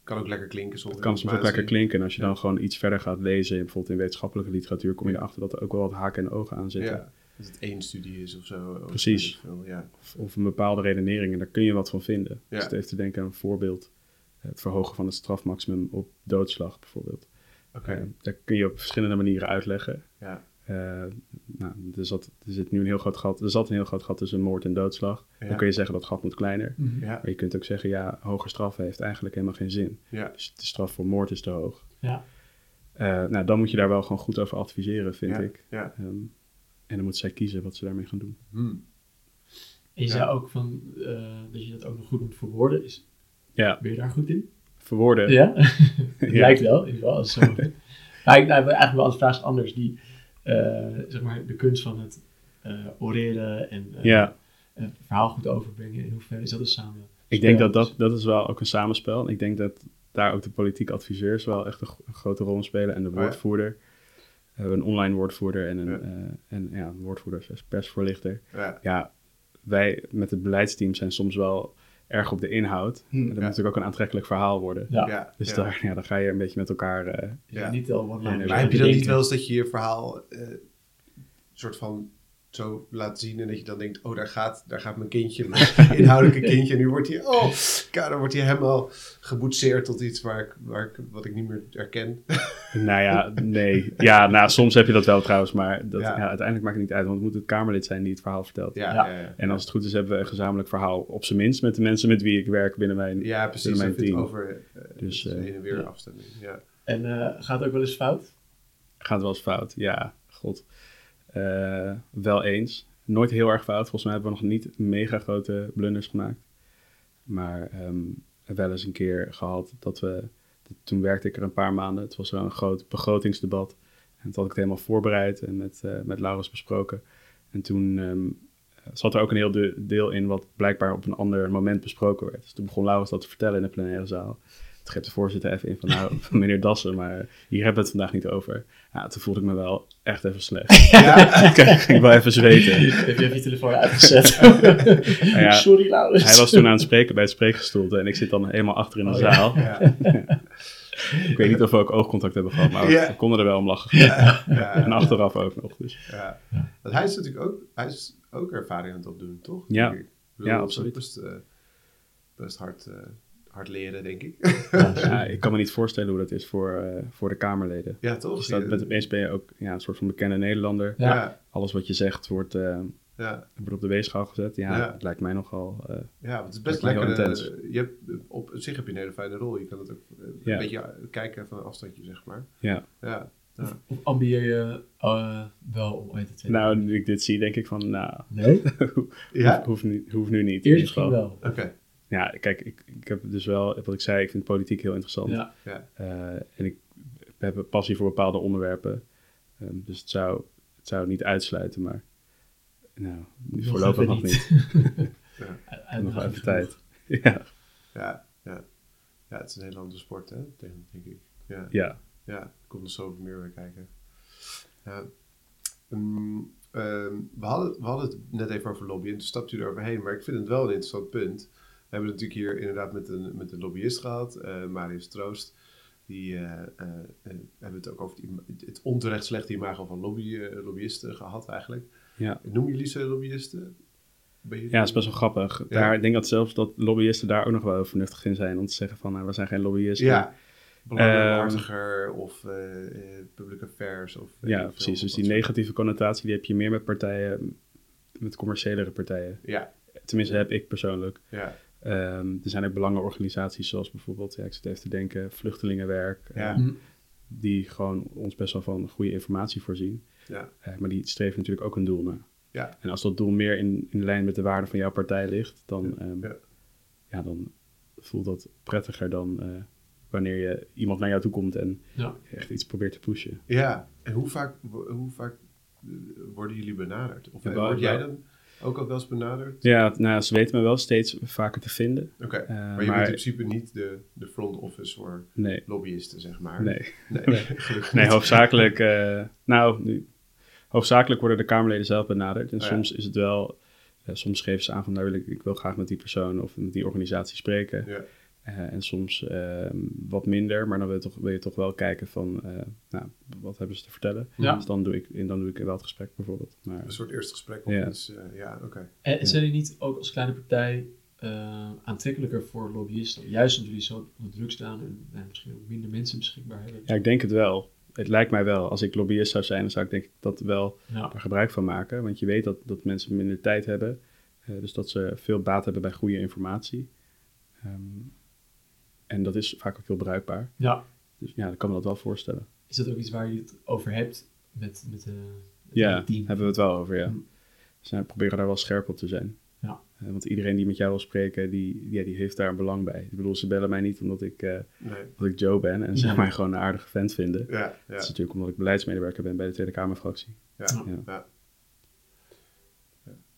[SPEAKER 1] Kan ook lekker klinken zonder
[SPEAKER 2] het kan soms ook
[SPEAKER 1] informatie.
[SPEAKER 2] lekker klinken. En als je dan gewoon iets verder gaat lezen, bijvoorbeeld in wetenschappelijke literatuur, kom je erachter dat er ook wel wat haken en ogen aan zitten.
[SPEAKER 1] Ja. Dat het één studie is of zo. Of
[SPEAKER 2] Precies.
[SPEAKER 1] weet ik veel, Ja.
[SPEAKER 2] Of, of een bepaalde redenering. En daar kun je wat van vinden.
[SPEAKER 1] Ja.
[SPEAKER 2] Dus het heeft te denken aan een voorbeeld. Het verhogen van het strafmaximum op doodslag bijvoorbeeld.
[SPEAKER 1] Oké.
[SPEAKER 2] Eh, daar kun je op verschillende manieren uitleggen.
[SPEAKER 1] Ja.
[SPEAKER 2] Eh, nou, er, zat, er zit nu een heel groot gat. Er zat een heel groot gat tussen moord en doodslag.
[SPEAKER 1] Ja.
[SPEAKER 2] Dan kun je zeggen dat gat moet kleiner.
[SPEAKER 1] Ja.
[SPEAKER 2] Maar je kunt ook zeggen, ja, hoger straffen heeft eigenlijk helemaal geen zin.
[SPEAKER 1] Ja.
[SPEAKER 2] Dus de straf voor moord is te hoog.
[SPEAKER 3] ja.
[SPEAKER 2] Eh, nou, dan moet je daar wel gewoon goed over adviseren, vind
[SPEAKER 1] ja.
[SPEAKER 2] ik.
[SPEAKER 1] Ja.
[SPEAKER 2] Ehm, en dan moeten zij kiezen wat ze daarmee gaan doen.
[SPEAKER 1] Hm.
[SPEAKER 3] En je
[SPEAKER 1] Ja.
[SPEAKER 3] zei ook van, eh, dat je dat ook nog goed moet verwoorden. Is,
[SPEAKER 2] Ja,
[SPEAKER 3] ben je daar goed in?
[SPEAKER 2] verwoorden.
[SPEAKER 3] Ja, het lijkt wel. In ieder geval, als het zo maar ik, nou, eigenlijk wel als vraag is anders. Die, eh, zeg maar, de kunst van het eh, oreren en eh,
[SPEAKER 2] Ja.
[SPEAKER 3] het verhaal goed overbrengen. In hoeverre is dat een Dus samen?
[SPEAKER 2] Ik denk
[SPEAKER 3] spel?
[SPEAKER 2] dat, dat dat is wel ook een samenspel. Ik denk dat daar ook de politieke adviseurs wel echt een, gro- een grote rol in spelen. En de
[SPEAKER 1] Oh ja.
[SPEAKER 2] woordvoerder. We hebben een online woordvoerder en een,
[SPEAKER 1] Ja.
[SPEAKER 2] eh, en, ja, een woordvoerder, slash persvoorlichter.
[SPEAKER 1] Ja.
[SPEAKER 2] Ja, wij met het beleidsteam zijn soms wel erg op de inhoud. en dat moet natuurlijk ook een aantrekkelijk verhaal worden.
[SPEAKER 3] Ja.
[SPEAKER 1] Ja.
[SPEAKER 2] Dus
[SPEAKER 1] Hm, ja.
[SPEAKER 2] Daar, ja, dan ga je een beetje met elkaar... eh,
[SPEAKER 3] Dus
[SPEAKER 1] Ja.
[SPEAKER 3] Niet al one
[SPEAKER 2] Ja, nee,
[SPEAKER 1] Maar heb je dan niet
[SPEAKER 3] bedenken.
[SPEAKER 1] wel eens dat je je verhaal eh, soort van zo laat zien en dat je dan denkt, oh daar gaat, daar gaat mijn kindje, mijn inhoudelijke kindje. En nu wordt hij, oh, ka- dan wordt hij helemaal geboetseerd tot iets waar ik, waar ik, wat ik niet meer herken.
[SPEAKER 2] nou ja, nee. Ja, nou, soms heb je dat wel trouwens. Maar dat,
[SPEAKER 1] Ja.
[SPEAKER 2] ja. uiteindelijk maakt het niet uit. Want het moet het Kamerlid zijn die het verhaal vertelt.
[SPEAKER 1] Ja, ja.
[SPEAKER 3] Ja.
[SPEAKER 1] ja,
[SPEAKER 2] En als het goed is, hebben we een gezamenlijk verhaal, op zijn minst, met de mensen met wie ik werk binnen mijn.
[SPEAKER 1] Ja, precies.
[SPEAKER 2] mijn
[SPEAKER 1] Even het
[SPEAKER 2] team.
[SPEAKER 1] over eh
[SPEAKER 2] Dus,
[SPEAKER 1] het
[SPEAKER 2] eh,
[SPEAKER 1] heen en weer
[SPEAKER 3] ja.
[SPEAKER 1] afstemming. Ja.
[SPEAKER 3] En eh, gaat het ook wel eens fout?
[SPEAKER 2] Gaat wel eens fout. Ja, god. Eh, wel eens. Nooit heel erg fout. Volgens mij hebben we nog niet mega grote blunders gemaakt. Maar ehm, wel eens een keer gehad dat we. Toen werkte ik er een paar maanden. Het was wel een groot begrotingsdebat. En toen had ik het helemaal voorbereid en met, eh, met Laurens besproken. En toen ehm, zat er ook een heel de- deel in wat blijkbaar op een ander moment besproken werd. Dus toen begon Laurens dat te vertellen in de plenaire zaal. Toen greep de voorzitter even in van, nou, meneer Dassen, maar hier hebben we het vandaag niet over. Ja, toen voelde ik me wel echt even slecht.
[SPEAKER 1] Ja.
[SPEAKER 2] Kijk, ging ik wel even zweten.
[SPEAKER 3] Heb je even je telefoon uitgezet?
[SPEAKER 2] Nou ja,
[SPEAKER 3] Sorry, Laurens.
[SPEAKER 2] Hij was toen aan het spreken bij het spreekgestoelte en ik zit dan helemaal achter in de
[SPEAKER 3] Oh, ja.
[SPEAKER 2] zaal.
[SPEAKER 1] Ja.
[SPEAKER 2] Ik weet niet of we ook oogcontact hebben gehad, maar
[SPEAKER 1] Ja.
[SPEAKER 2] we konden er wel om lachen.
[SPEAKER 1] Ja.
[SPEAKER 2] En achteraf ook nog. Dus.
[SPEAKER 1] Ja. Want hij is natuurlijk ook, hij is ook ervaring aan het opdoen, toch?
[SPEAKER 2] Ja.
[SPEAKER 1] Denk ik. Ik bedoel,
[SPEAKER 2] Ja,
[SPEAKER 1] dat is ook
[SPEAKER 2] absoluut.
[SPEAKER 1] best, eh, best hard, eh, hard leren, denk ik.
[SPEAKER 2] Ja, ik kan me niet voorstellen hoe dat is voor, eh, voor de Kamerleden.
[SPEAKER 1] Ja, toch?
[SPEAKER 2] Dus dat, met, opeens ben je ook ja, een soort van bekende Nederlander.
[SPEAKER 3] Ja.
[SPEAKER 1] ja,
[SPEAKER 2] Alles wat je zegt wordt, eh,
[SPEAKER 1] ja,
[SPEAKER 2] wordt op de weegschaal gezet. Ja,
[SPEAKER 1] Ja.
[SPEAKER 2] het lijkt mij nogal... eh,
[SPEAKER 1] ja, want het is best
[SPEAKER 2] Lijkt me
[SPEAKER 1] lekker.
[SPEAKER 2] heel
[SPEAKER 1] eh,
[SPEAKER 2] intens.
[SPEAKER 1] je hebt, op zich heb je een hele fijne rol. Je kan het ook eh, een
[SPEAKER 2] Ja.
[SPEAKER 1] beetje kijken van een afstandje, zeg maar.
[SPEAKER 2] ja.
[SPEAKER 1] Ja,
[SPEAKER 3] Of, of ambieer je eh, wel om ooit te tweede?
[SPEAKER 2] Nou, nu ik dit zie, denk ik van, nou,
[SPEAKER 3] nee?
[SPEAKER 1] ja?
[SPEAKER 2] hoeft, hoeft, nu, hoeft nu niet. in
[SPEAKER 3] Eerst misschien
[SPEAKER 2] ieder geval.
[SPEAKER 3] wel.
[SPEAKER 1] oké.
[SPEAKER 2] Ja, kijk, ik, ik heb dus wel, wat ik zei, ik vind politiek heel interessant.
[SPEAKER 3] Ja.
[SPEAKER 1] Ja.
[SPEAKER 2] Eh, en ik heb een passie voor bepaalde onderwerpen. Ehm, dus het zou, het zou niet uitsluiten, maar nou, voorlopig nog niet.
[SPEAKER 3] Uit-
[SPEAKER 2] Nog even
[SPEAKER 3] uitdaging
[SPEAKER 2] tijd.
[SPEAKER 3] genoeg.
[SPEAKER 2] Ja,
[SPEAKER 1] Ja, ja. ja, het is een hele andere sport, hè? Denk, denk ik. Ja,
[SPEAKER 2] ja.
[SPEAKER 1] ja, er komt nog zoveel meer bij kijken. Ja. Ehm, ehm, we, hadden, we hadden het net even over lobby en toen stapte u eroverheen, maar ik vind het wel een interessant punt. We hebben het natuurlijk hier inderdaad met een, met een lobbyist gehad, eh, Marius Troost. Die eh, eh, eh, hebben het ook over het, ima- het onterecht slechte imago van lobby, eh, lobbyisten gehad eigenlijk.
[SPEAKER 2] Ja.
[SPEAKER 1] Noemen jullie ze lobbyisten? Ben je-
[SPEAKER 2] ja, dat is best wel grappig. Daar, ik denk dat zelfs dat lobbyisten daar ook nog wel heel vernuftig in zijn. Om te zeggen van, nou, we zijn geen lobbyisten.
[SPEAKER 1] Ja.
[SPEAKER 2] Belangenbehartiger
[SPEAKER 1] Belangenbehartiger of eh, public affairs. Of,
[SPEAKER 2] Ehm,
[SPEAKER 1] eh,
[SPEAKER 2] ja precies. Dus die negatieve connotatie, die heb je meer met partijen, met commerciëlere partijen.
[SPEAKER 1] Ja,
[SPEAKER 2] Tenminste, heb ik persoonlijk.
[SPEAKER 1] ja,
[SPEAKER 2] Ehm, er zijn ook belangenorganisaties zoals bijvoorbeeld, ja, ik zit even te denken, Vluchtelingenwerk.
[SPEAKER 1] Ja.
[SPEAKER 2] eh, die gewoon ons best wel van goede informatie voorzien.
[SPEAKER 1] ja,
[SPEAKER 2] Eh, maar die streven natuurlijk ook een doel na.
[SPEAKER 1] ja,
[SPEAKER 2] En als dat doel meer in, in lijn met de waarden van jouw partij ligt, dan, ehm,
[SPEAKER 1] ja.
[SPEAKER 2] ja, dan voelt dat prettiger dan eh, wanneer je iemand naar jou toe komt en
[SPEAKER 3] Ja.
[SPEAKER 2] echt iets probeert te pushen.
[SPEAKER 1] Ja, en hoe vaak, hoe vaak eh, worden jullie benaderd? Of
[SPEAKER 2] Ja,
[SPEAKER 1] eh,
[SPEAKER 2] wel-
[SPEAKER 1] word jij
[SPEAKER 2] wel-
[SPEAKER 1] dan ook al wel eens benaderd?
[SPEAKER 2] Ja, nou, ze weten me wel steeds vaker te vinden.
[SPEAKER 1] Oké,
[SPEAKER 2] Eh,
[SPEAKER 1] maar je
[SPEAKER 2] maar-
[SPEAKER 1] bent in principe niet de, de front office voor
[SPEAKER 2] Nee,
[SPEAKER 1] lobbyisten, zeg maar.
[SPEAKER 2] nee.
[SPEAKER 1] nee, gelukkig
[SPEAKER 2] Nee,
[SPEAKER 1] niet.
[SPEAKER 2] hoofdzakelijk, eh, nou, nu, hoofdzakelijk worden de Kamerleden zelf benaderd. En
[SPEAKER 1] Oh Ja.
[SPEAKER 2] soms is het wel, eh, soms geven ze aan van, daar wil ik, ik wil graag met die persoon of met die organisatie spreken.
[SPEAKER 1] Ja,
[SPEAKER 2] Eh, en soms eh, wat minder, maar dan wil je toch, wil je toch wel kijken van, eh, nou, wat hebben ze te vertellen?
[SPEAKER 3] Ja.
[SPEAKER 2] Dus dan doe, ik, en dan doe ik wel het gesprek bijvoorbeeld. Maar,
[SPEAKER 1] een soort eerste gesprek. Of
[SPEAKER 2] Ja.
[SPEAKER 1] iets, eh, ja, oké.
[SPEAKER 3] En, en
[SPEAKER 2] Ja.
[SPEAKER 3] zijn jullie niet ook als kleine partij eh, aantrekkelijker voor lobbyisten? Juist omdat jullie zo onder druk staan en eh, misschien ook minder mensen beschikbaar hebben.
[SPEAKER 2] ja, ik denk het wel. Het lijkt mij wel. Als ik lobbyist zou zijn, dan zou ik denk ik dat wel
[SPEAKER 3] Ja.
[SPEAKER 2] daar gebruik van maken. Want je weet dat, dat mensen minder tijd hebben. eh, dus dat ze veel baat hebben bij goede informatie. Ehm, en dat is vaak ook heel bruikbaar.
[SPEAKER 3] Ja.
[SPEAKER 2] Dus ja, ik kan me dat wel voorstellen.
[SPEAKER 3] Is dat ook iets waar je het over hebt met, met, eh, met
[SPEAKER 2] Ja,
[SPEAKER 3] het team?
[SPEAKER 2] hebben we het wel over, ja.
[SPEAKER 3] Hm.
[SPEAKER 2] Dus nou, we proberen daar wel scherp op te zijn.
[SPEAKER 3] Ja.
[SPEAKER 2] Eh, want iedereen die met jou wil spreken, die, ja, die heeft daar een belang bij. Ik bedoel, ze bellen mij niet omdat ik, eh,
[SPEAKER 1] Nee.
[SPEAKER 2] omdat ik Joe ben en ze
[SPEAKER 3] Nee.
[SPEAKER 2] mij gewoon een aardige vent vinden.
[SPEAKER 1] Ja, ja.
[SPEAKER 2] Dat is natuurlijk omdat ik beleidsmedewerker ben bij de Tweede Kamerfractie.
[SPEAKER 1] Ja,
[SPEAKER 2] Ja.
[SPEAKER 1] ja.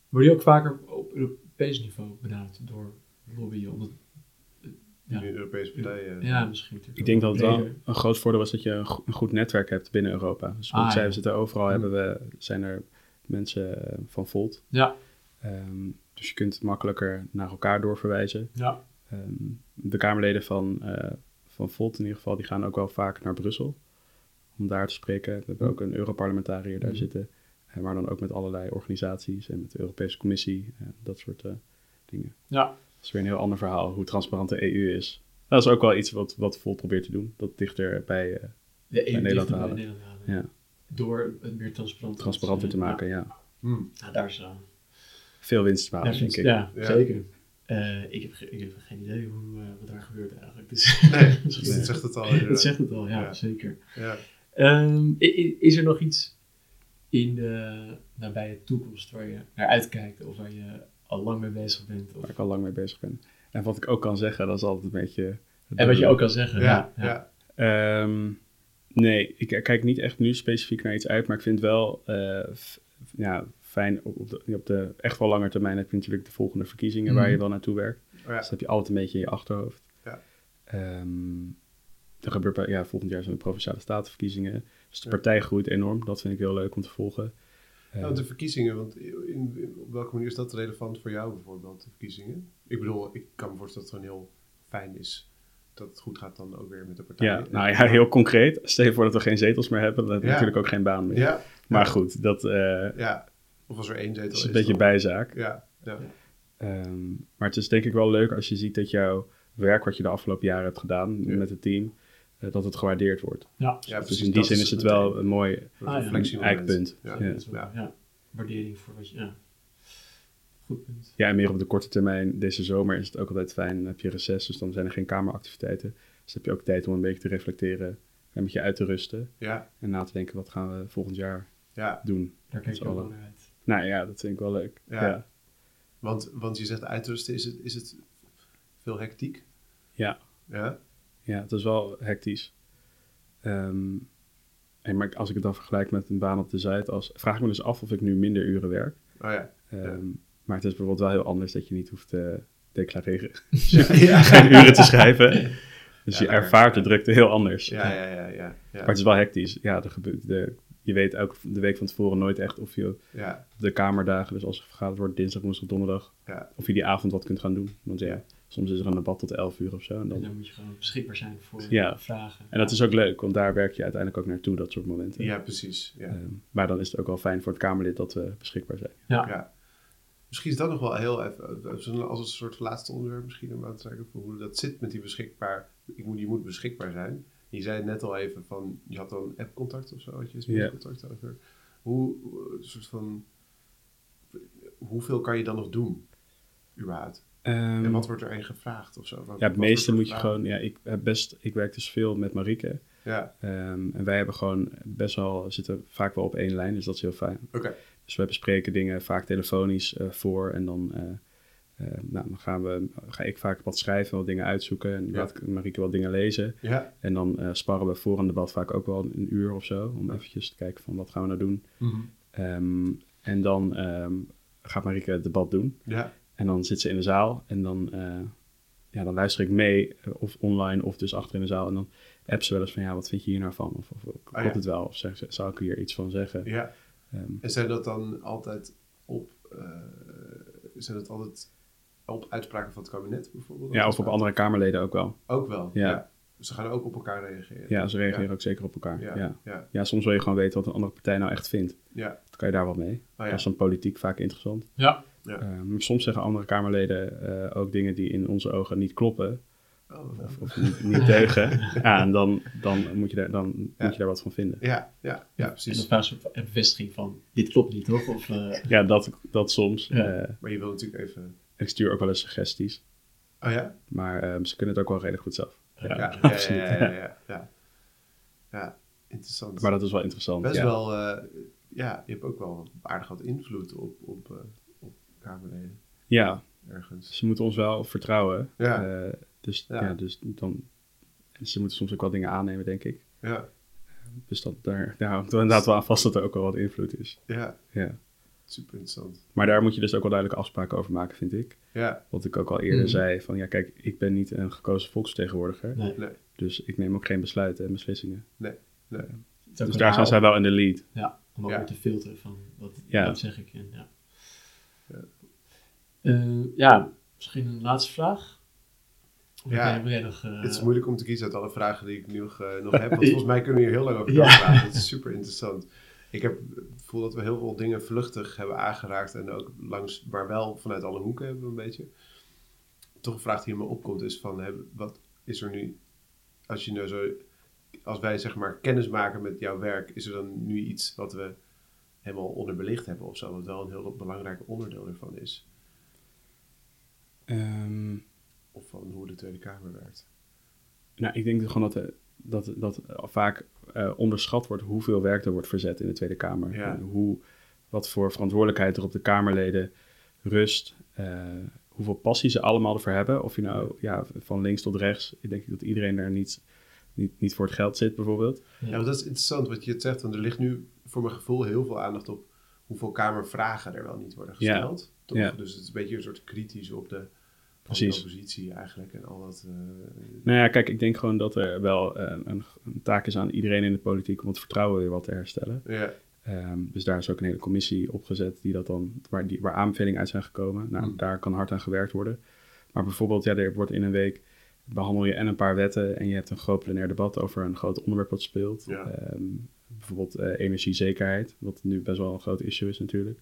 [SPEAKER 3] Word je ook vaker op Europees niveau benaderd door lobbyen? Omdat,
[SPEAKER 1] ja.
[SPEAKER 3] Ja.
[SPEAKER 1] Europese eh, partijen.
[SPEAKER 3] ja, misschien. natuurlijk
[SPEAKER 2] Ik denk dat
[SPEAKER 3] ook
[SPEAKER 2] het wel
[SPEAKER 3] breder.
[SPEAKER 2] een groot voordeel was dat je een, go- een goed netwerk hebt binnen Europa. Dus
[SPEAKER 3] Ah,
[SPEAKER 2] ah,
[SPEAKER 3] ja.
[SPEAKER 2] we zitten overal,
[SPEAKER 3] Hm.
[SPEAKER 2] hebben we, zijn er mensen eh, van Volt.
[SPEAKER 3] Ja,
[SPEAKER 2] Ehm, dus je kunt makkelijker naar elkaar doorverwijzen.
[SPEAKER 3] ja.
[SPEAKER 2] Ehm, de Kamerleden van, eh, van Volt in ieder geval, die gaan ook wel vaak naar Brussel om daar te spreken. We
[SPEAKER 3] Hm.
[SPEAKER 2] hebben ook een Europarlementariër daar
[SPEAKER 3] Mhm.
[SPEAKER 2] zitten, eh, maar dan ook met allerlei organisaties en met de Europese Commissie en dat soort eh, dingen.
[SPEAKER 3] ja.
[SPEAKER 2] Dat is weer een heel ander verhaal, hoe transparant de EU is. Dat is ook wel iets wat, wat Volt probeert te doen, dat dichter bij eh,
[SPEAKER 3] De EU
[SPEAKER 2] Nederland
[SPEAKER 3] dichter bij
[SPEAKER 2] halen.
[SPEAKER 3] Nederland halen.
[SPEAKER 2] ja,
[SPEAKER 3] Door het meer transparant,
[SPEAKER 2] transparanter te
[SPEAKER 3] Ja.
[SPEAKER 2] maken. Ja.
[SPEAKER 1] Hm,
[SPEAKER 3] Nou, daar is eh,
[SPEAKER 2] Veel winst te
[SPEAKER 3] daar
[SPEAKER 2] behalen,
[SPEAKER 3] is-
[SPEAKER 2] denk ik.
[SPEAKER 3] Ja,
[SPEAKER 1] Ja.
[SPEAKER 3] zeker. Eh, ik, heb ge- ik heb geen idee hoe, eh, wat daar gebeurt eigenlijk. Dus,
[SPEAKER 1] Nee,
[SPEAKER 3] Dus-
[SPEAKER 1] dat zegt het al.
[SPEAKER 3] dat
[SPEAKER 1] inderdaad.
[SPEAKER 3] zegt het al, ja,
[SPEAKER 1] Ja.
[SPEAKER 3] zeker.
[SPEAKER 1] Ja.
[SPEAKER 3] Ehm, i- i- is er nog iets in de nabije toekomst waar je naar uitkijkt of waar je al lang mee bezig bent? Of,
[SPEAKER 2] Waar ik al lang mee bezig ben. En wat ik ook kan zeggen, dat is altijd een beetje...
[SPEAKER 3] en wat je ook kan zeggen.
[SPEAKER 1] Ja, ja,
[SPEAKER 2] Ehm, nee, ik eh, kijk niet echt nu specifiek naar iets uit, maar ik vind wel eh, f- ja, fijn op, op de, op de echt wel lange termijn heb je natuurlijk de volgende verkiezingen waar je
[SPEAKER 3] Mhm.
[SPEAKER 2] wel naartoe werkt.
[SPEAKER 1] Oh ja.
[SPEAKER 2] Dus dat heb je altijd een beetje in je achterhoofd.
[SPEAKER 1] Ja.
[SPEAKER 2] Ehm, er gebeurt bij- ja, volgend jaar zijn de provinciale statenverkiezingen. Dus de
[SPEAKER 1] Ja.
[SPEAKER 2] partij groeit enorm. Dat vind ik heel leuk om te volgen. Eh,
[SPEAKER 1] Ja, want Nou, de verkiezingen, want in, in- op welke manier is dat relevant voor jou bijvoorbeeld, de verkiezingen? Ik bedoel, ik kan me voorstellen dat het gewoon heel fijn is dat het goed gaat dan ook weer met de partij.
[SPEAKER 2] ja, nou ja, heel concreet. Stel je voor dat we geen zetels meer hebben, dan hebben we
[SPEAKER 1] Ja.
[SPEAKER 2] natuurlijk ook geen baan meer.
[SPEAKER 1] Ja,
[SPEAKER 2] Maar goed, dat eh,
[SPEAKER 1] ja. Of als er één zetel
[SPEAKER 2] is een beetje
[SPEAKER 1] dan-
[SPEAKER 2] bijzaak.
[SPEAKER 1] Ja, ja.
[SPEAKER 2] Ehm, maar het is denk ik wel leuk als je ziet dat jouw werk wat je de afgelopen jaren hebt gedaan
[SPEAKER 1] Ja.
[SPEAKER 2] met het team, eh, dat het gewaardeerd wordt.
[SPEAKER 3] Ja,
[SPEAKER 1] Ja,
[SPEAKER 2] dus in die
[SPEAKER 1] dat
[SPEAKER 2] zin is het
[SPEAKER 1] meteen
[SPEAKER 2] wel een mooi
[SPEAKER 1] een
[SPEAKER 3] Ah, ja.
[SPEAKER 1] reflectiemoment.
[SPEAKER 2] eikpunt. Ja.
[SPEAKER 1] Ja.
[SPEAKER 2] Ja.
[SPEAKER 3] dat is wel-
[SPEAKER 1] Ja.
[SPEAKER 3] ja. Waardering voor wat je. Ja. Goed punt.
[SPEAKER 2] en meer op de korte termijn, deze zomer is het ook altijd fijn. Dan heb je reces, dus dan zijn er geen kameractiviteiten. Dus heb je ook tijd om een beetje te reflecteren, een beetje uit te rusten
[SPEAKER 1] Ja,
[SPEAKER 2] en na te denken wat gaan we volgend jaar
[SPEAKER 1] ja.
[SPEAKER 2] doen.
[SPEAKER 3] Daar kijk
[SPEAKER 2] is
[SPEAKER 3] ik ook
[SPEAKER 2] wel-
[SPEAKER 3] wel naar uit.
[SPEAKER 2] Nou ja, dat vind ik wel leuk.
[SPEAKER 1] Ja.
[SPEAKER 2] Ja, ja.
[SPEAKER 1] Want, want je zegt uitrusten, is het, is het veel hectiek?
[SPEAKER 2] ja.
[SPEAKER 1] Ja,
[SPEAKER 2] het is wel hectisch. Ehm, en maar als ik het dan vergelijk met een baan op de Zuidas, vraag ik me dus af of ik nu minder uren werk.
[SPEAKER 1] oh ja.
[SPEAKER 2] Ehm, Maar het is bijvoorbeeld wel heel anders dat je niet hoeft te declareren.
[SPEAKER 1] Ja, ja,
[SPEAKER 2] geen uren te schrijven. Dus
[SPEAKER 1] Ja,
[SPEAKER 2] je
[SPEAKER 1] lekker.
[SPEAKER 2] ervaart de drukte heel anders.
[SPEAKER 1] ja, ja, ja, ja, ja.
[SPEAKER 2] Maar het is wel hectisch. Ja, er gebeurt, de, je weet ook de week van tevoren nooit echt of je op
[SPEAKER 1] ja.
[SPEAKER 2] de kamerdagen, dus als er vergaderd wordt dinsdag, woensdag, donderdag,
[SPEAKER 1] Ja.
[SPEAKER 2] of je die avond wat kunt gaan doen. Want ja, soms is er een debat tot 11 uur of zo. En,
[SPEAKER 3] En
[SPEAKER 2] dan,
[SPEAKER 3] dan moet je gewoon beschikbaar zijn voor
[SPEAKER 2] Ja.
[SPEAKER 3] vragen.
[SPEAKER 2] en dat is ook leuk, want daar werk je uiteindelijk ook naartoe, dat soort momenten.
[SPEAKER 1] ja precies. Ja.
[SPEAKER 2] Ehm, maar dan is het ook wel fijn voor het Kamerlid dat we beschikbaar zijn.
[SPEAKER 1] Ja. Misschien is dat nog wel heel even, eh, als een soort laatste onderwerp misschien om aan te trekken, hoe dat zit met die beschikbaar, ik moet, je moet beschikbaar zijn. Je zei het net al even van, je had dan appcontact of zo, had je smscontact over. Hoe, hoe- een soort van, hoeveel kan je dan nog doen, überhaupt?
[SPEAKER 2] Ehm,
[SPEAKER 1] En wat wordt er aan je gevraagd of zo? Wat-
[SPEAKER 2] ja,
[SPEAKER 1] wat
[SPEAKER 2] het meeste moet
[SPEAKER 1] wordt
[SPEAKER 2] je
[SPEAKER 1] er
[SPEAKER 2] gewoon. Ja, ik, heb best, ik werk dus veel met Marieke.
[SPEAKER 1] gevraagd? Ja,
[SPEAKER 2] Ehm, en wij hebben gewoon best wel, zitten vaak wel op één lijn, dus dat is heel fijn.
[SPEAKER 1] oké.
[SPEAKER 2] Dus we bespreken dingen vaak telefonisch eh, voor en dan, eh, eh, nou, dan gaan we, ga ik vaak wat schrijven, wat dingen uitzoeken en
[SPEAKER 1] Ja.
[SPEAKER 2] laat ik Marieke wat dingen lezen.
[SPEAKER 1] Ja.
[SPEAKER 2] En dan eh, sparren we voor een debat vaak ook wel een uur of zo, om eventjes te kijken van wat gaan we nou doen. Ehm, en dan ehm, gaat Marieke het debat doen
[SPEAKER 1] ja,
[SPEAKER 2] en dan zit ze in de zaal en dan, eh, ja, dan luister ik mee, eh, of online of dus achter in de zaal. En dan app ze wel eens van, ja, wat vind je hier nou van? Of, of klopt
[SPEAKER 1] Ah, ja.
[SPEAKER 2] het wel? Of zeg, ze- zou ik hier iets van zeggen?
[SPEAKER 1] ja.
[SPEAKER 2] Ehm,
[SPEAKER 1] En zijn dat dan altijd op, eh, zijn dat altijd op uitspraken van het kabinet bijvoorbeeld?
[SPEAKER 2] ja, of op andere kamerleden ook wel.
[SPEAKER 1] Ook wel, ja. Dus
[SPEAKER 2] Ja.
[SPEAKER 1] Ze gaan ook op elkaar reageren.
[SPEAKER 2] Ja, ze reageren
[SPEAKER 1] Ja.
[SPEAKER 2] ook zeker op elkaar.
[SPEAKER 1] Ja,
[SPEAKER 2] Ja.
[SPEAKER 1] ja,
[SPEAKER 2] Ja.
[SPEAKER 1] ja.
[SPEAKER 2] soms wil je gewoon weten wat een andere partij nou echt vindt.
[SPEAKER 1] ja.
[SPEAKER 2] Dan kan je daar wat mee.
[SPEAKER 1] Oh ja.
[SPEAKER 2] Dat is dan politiek vaak interessant.
[SPEAKER 3] Ja,
[SPEAKER 2] Eh, maar soms zeggen andere Kamerleden eh, ook dingen die in onze ogen niet kloppen
[SPEAKER 1] Oh,
[SPEAKER 2] of, of niet, niet deugen. Ja, en dan, dan, moet, je daar, dan
[SPEAKER 1] Ja.
[SPEAKER 2] moet je daar wat van vinden.
[SPEAKER 1] ja, ja, ja,
[SPEAKER 3] en dan
[SPEAKER 1] precies.
[SPEAKER 3] vraag ze een bevestiging van: dit klopt niet, toch? Of, eh,
[SPEAKER 2] Ja, dat, dat soms.
[SPEAKER 3] Ja.
[SPEAKER 2] Eh,
[SPEAKER 1] Maar je wil natuurlijk even...
[SPEAKER 2] ik stuur ook wel eens suggesties.
[SPEAKER 1] Oh ja?
[SPEAKER 2] Maar ehm, ze kunnen het ook wel redelijk goed zelf. Ja,
[SPEAKER 1] Ja, ja,
[SPEAKER 2] absoluut.
[SPEAKER 1] ja, ja, ja, ja. Ja, interessant.
[SPEAKER 2] Maar dat is wel interessant.
[SPEAKER 1] Best
[SPEAKER 2] ja.
[SPEAKER 1] wel... eh, ja, je hebt ook wel aardig wat invloed op, op, eh, op Kamerleden
[SPEAKER 2] ja,
[SPEAKER 1] ergens.
[SPEAKER 2] ze moeten ons wel vertrouwen.
[SPEAKER 1] Ja.
[SPEAKER 2] Eh, dus,
[SPEAKER 1] Ja.
[SPEAKER 2] ja. dus dan, en ze moeten soms ook wel dingen aannemen, denk ik.
[SPEAKER 1] Ja,
[SPEAKER 2] Dus dat, daar, daar hangt wel inderdaad wel aan vast dat er ook wel wat invloed is.
[SPEAKER 1] ja,
[SPEAKER 2] Ja.
[SPEAKER 1] super interessant.
[SPEAKER 2] Maar daar moet je dus ook wel duidelijke afspraken over maken, vind ik.
[SPEAKER 1] Ja,
[SPEAKER 2] Wat ik ook al eerder
[SPEAKER 3] Mhm.
[SPEAKER 2] zei, van ja, kijk, ik ben niet een gekozen volksvertegenwoordiger.
[SPEAKER 3] nee,
[SPEAKER 1] nee,
[SPEAKER 2] Dus ik neem ook geen besluiten en beslissingen.
[SPEAKER 1] nee.
[SPEAKER 3] het is ook
[SPEAKER 2] dus
[SPEAKER 3] een
[SPEAKER 2] daar zijn
[SPEAKER 3] verhaal.
[SPEAKER 2] zij wel in de lead.
[SPEAKER 3] Ja, om ook
[SPEAKER 1] Ja.
[SPEAKER 3] weer te filteren van wat,
[SPEAKER 2] Ja.
[SPEAKER 3] wat zeg ik. En, ja.
[SPEAKER 1] Ja.
[SPEAKER 3] Eh, ja, misschien een laatste vraag. Of
[SPEAKER 1] Ja.
[SPEAKER 3] heb jij- wil jij nog, eh,
[SPEAKER 1] Het is moeilijk om te kiezen uit alle vragen die ik nu nog, eh, nog heb. Want volgens mij kunnen we hier heel lang over
[SPEAKER 3] Ja.
[SPEAKER 1] praten. Dat is super interessant. Ik heb het gevoel dat we heel veel dingen vluchtig hebben aangeraakt. En ook langs, maar wel vanuit alle hoeken hebben we een beetje. Toch een vraag die in me opkomt is van... hè, wat is er nu... Als, je nou zo, als wij zeg maar kennis maken met jouw werk... Is er dan nu iets wat we helemaal onderbelicht hebben of zo? Wat wel een heel belangrijk onderdeel ervan is.
[SPEAKER 2] Ehm,
[SPEAKER 1] Of van hoe de Tweede Kamer werkt.
[SPEAKER 2] nou, ik denk gewoon dat, eh, dat, dat vaak eh, onderschat wordt hoeveel werk er wordt verzet in de Tweede Kamer.
[SPEAKER 1] Ja.
[SPEAKER 2] En hoe, wat voor verantwoordelijkheid er op de Kamerleden rust. eh, hoeveel passie ze allemaal ervoor hebben. Of je nou ja, van links tot rechts. Ik denk dat iedereen daar niet, niet, niet voor het geld zit, bijvoorbeeld.
[SPEAKER 1] Ja, want dat is interessant wat je het zegt, want er ligt nu voor mijn gevoel heel veel aandacht op hoeveel kamervragen er wel niet worden
[SPEAKER 2] Ja.
[SPEAKER 1] gesteld. Toch?
[SPEAKER 2] Ja.
[SPEAKER 1] Dus het is een beetje een soort kritisch op de, op de
[SPEAKER 2] Precies.
[SPEAKER 1] oppositie eigenlijk en al dat. eh,
[SPEAKER 2] Nou ja, kijk, ik denk gewoon dat er wel eh, een, een taak is aan iedereen in de politiek om het vertrouwen weer wat te herstellen.
[SPEAKER 1] ja,
[SPEAKER 2] Ehm, dus daar is ook een hele commissie opgezet die dat dan, waar, die, waar aanbevelingen uit zijn gekomen. Nou,
[SPEAKER 1] Hmm.
[SPEAKER 2] daar kan hard aan gewerkt worden. Maar bijvoorbeeld, ja, er wordt in een week behandel je en een paar wetten en je hebt een groot plenair debat over een groot onderwerp dat speelt.
[SPEAKER 1] Ja.
[SPEAKER 2] Ehm, bijvoorbeeld eh, energiezekerheid, wat nu best wel een groot issue is natuurlijk.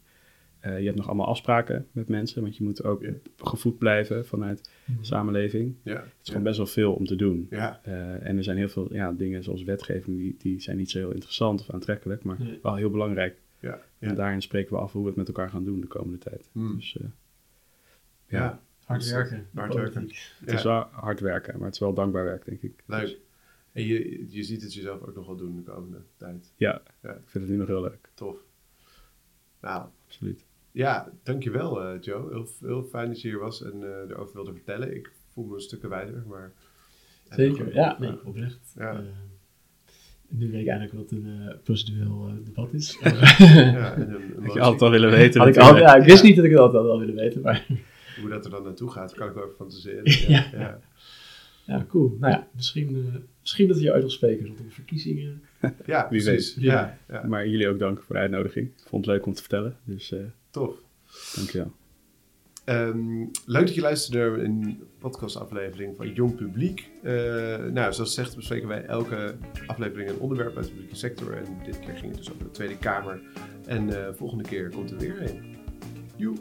[SPEAKER 2] eh, je hebt nog allemaal afspraken met mensen, want je moet ook
[SPEAKER 1] Ja.
[SPEAKER 2] gevoed blijven vanuit
[SPEAKER 3] hmm.
[SPEAKER 2] de samenleving. Het
[SPEAKER 1] Ja,
[SPEAKER 2] is gewoon best wel veel om te doen.
[SPEAKER 1] ja.
[SPEAKER 2] Eh, en er zijn heel veel ja, dingen zoals wetgeving, die, die zijn niet zo heel interessant of aantrekkelijk, maar
[SPEAKER 3] Nee.
[SPEAKER 2] wel heel belangrijk.
[SPEAKER 1] ja,
[SPEAKER 2] En
[SPEAKER 1] ja.
[SPEAKER 2] daarin spreken we af hoe we het met elkaar gaan doen de komende tijd.
[SPEAKER 1] Hmm.
[SPEAKER 2] Dus eh, ja,
[SPEAKER 1] ja.
[SPEAKER 3] Hard werken.
[SPEAKER 1] Hard werken.
[SPEAKER 2] het is wel hard werken, maar het is wel dankbaar werk, denk ik. Dus,
[SPEAKER 1] Leuk. En je, je ziet het jezelf ook nog wel doen de komende tijd.
[SPEAKER 2] ja,
[SPEAKER 1] Ja.
[SPEAKER 2] ik vind het nu nog heel leuk.
[SPEAKER 1] Tof. Nou,
[SPEAKER 2] Absoluut.
[SPEAKER 1] ja, dankjewel eh Joe. Heel, heel fijn dat je hier was en eh, erover wilde vertellen. Ik voel me een stukken wijder, maar...
[SPEAKER 3] Zeker, ja, nee, oprecht.
[SPEAKER 1] Ja.
[SPEAKER 3] Eh, nu weet ik eigenlijk wat een eh, procedueel eh, debat is.
[SPEAKER 1] Ja, en een, een
[SPEAKER 2] Dat je
[SPEAKER 1] motie.
[SPEAKER 2] altijd al willen weten.
[SPEAKER 3] Had ik, al,
[SPEAKER 2] natuurlijk.
[SPEAKER 3] ja, ik wist niet dat ik dat al wilde weten, maar
[SPEAKER 1] Hoe dat er dan naartoe gaat, kan ik wel even fantaseren.
[SPEAKER 3] Ja.
[SPEAKER 1] ja.
[SPEAKER 3] ja, cool. Nou ja, misschien, eh, misschien dat we je uit wil spreken rondom de verkiezingen.
[SPEAKER 1] Ja,
[SPEAKER 2] Wie
[SPEAKER 1] precies.
[SPEAKER 2] weet.
[SPEAKER 1] Ja, ja,
[SPEAKER 2] Maar jullie ook dank voor de uitnodiging. Ik vond het leuk om te vertellen, dus eh
[SPEAKER 1] tof.
[SPEAKER 2] dankjewel.
[SPEAKER 1] Ehm, leuk dat je luisterde naar een podcastaflevering van Jong Publiek. Eh, nou, zoals gezegd bespreken wij elke aflevering een onderwerp uit de publieke sector. En dit keer ging het dus over de Tweede Kamer. En eh volgende keer komt er weer een. Joe!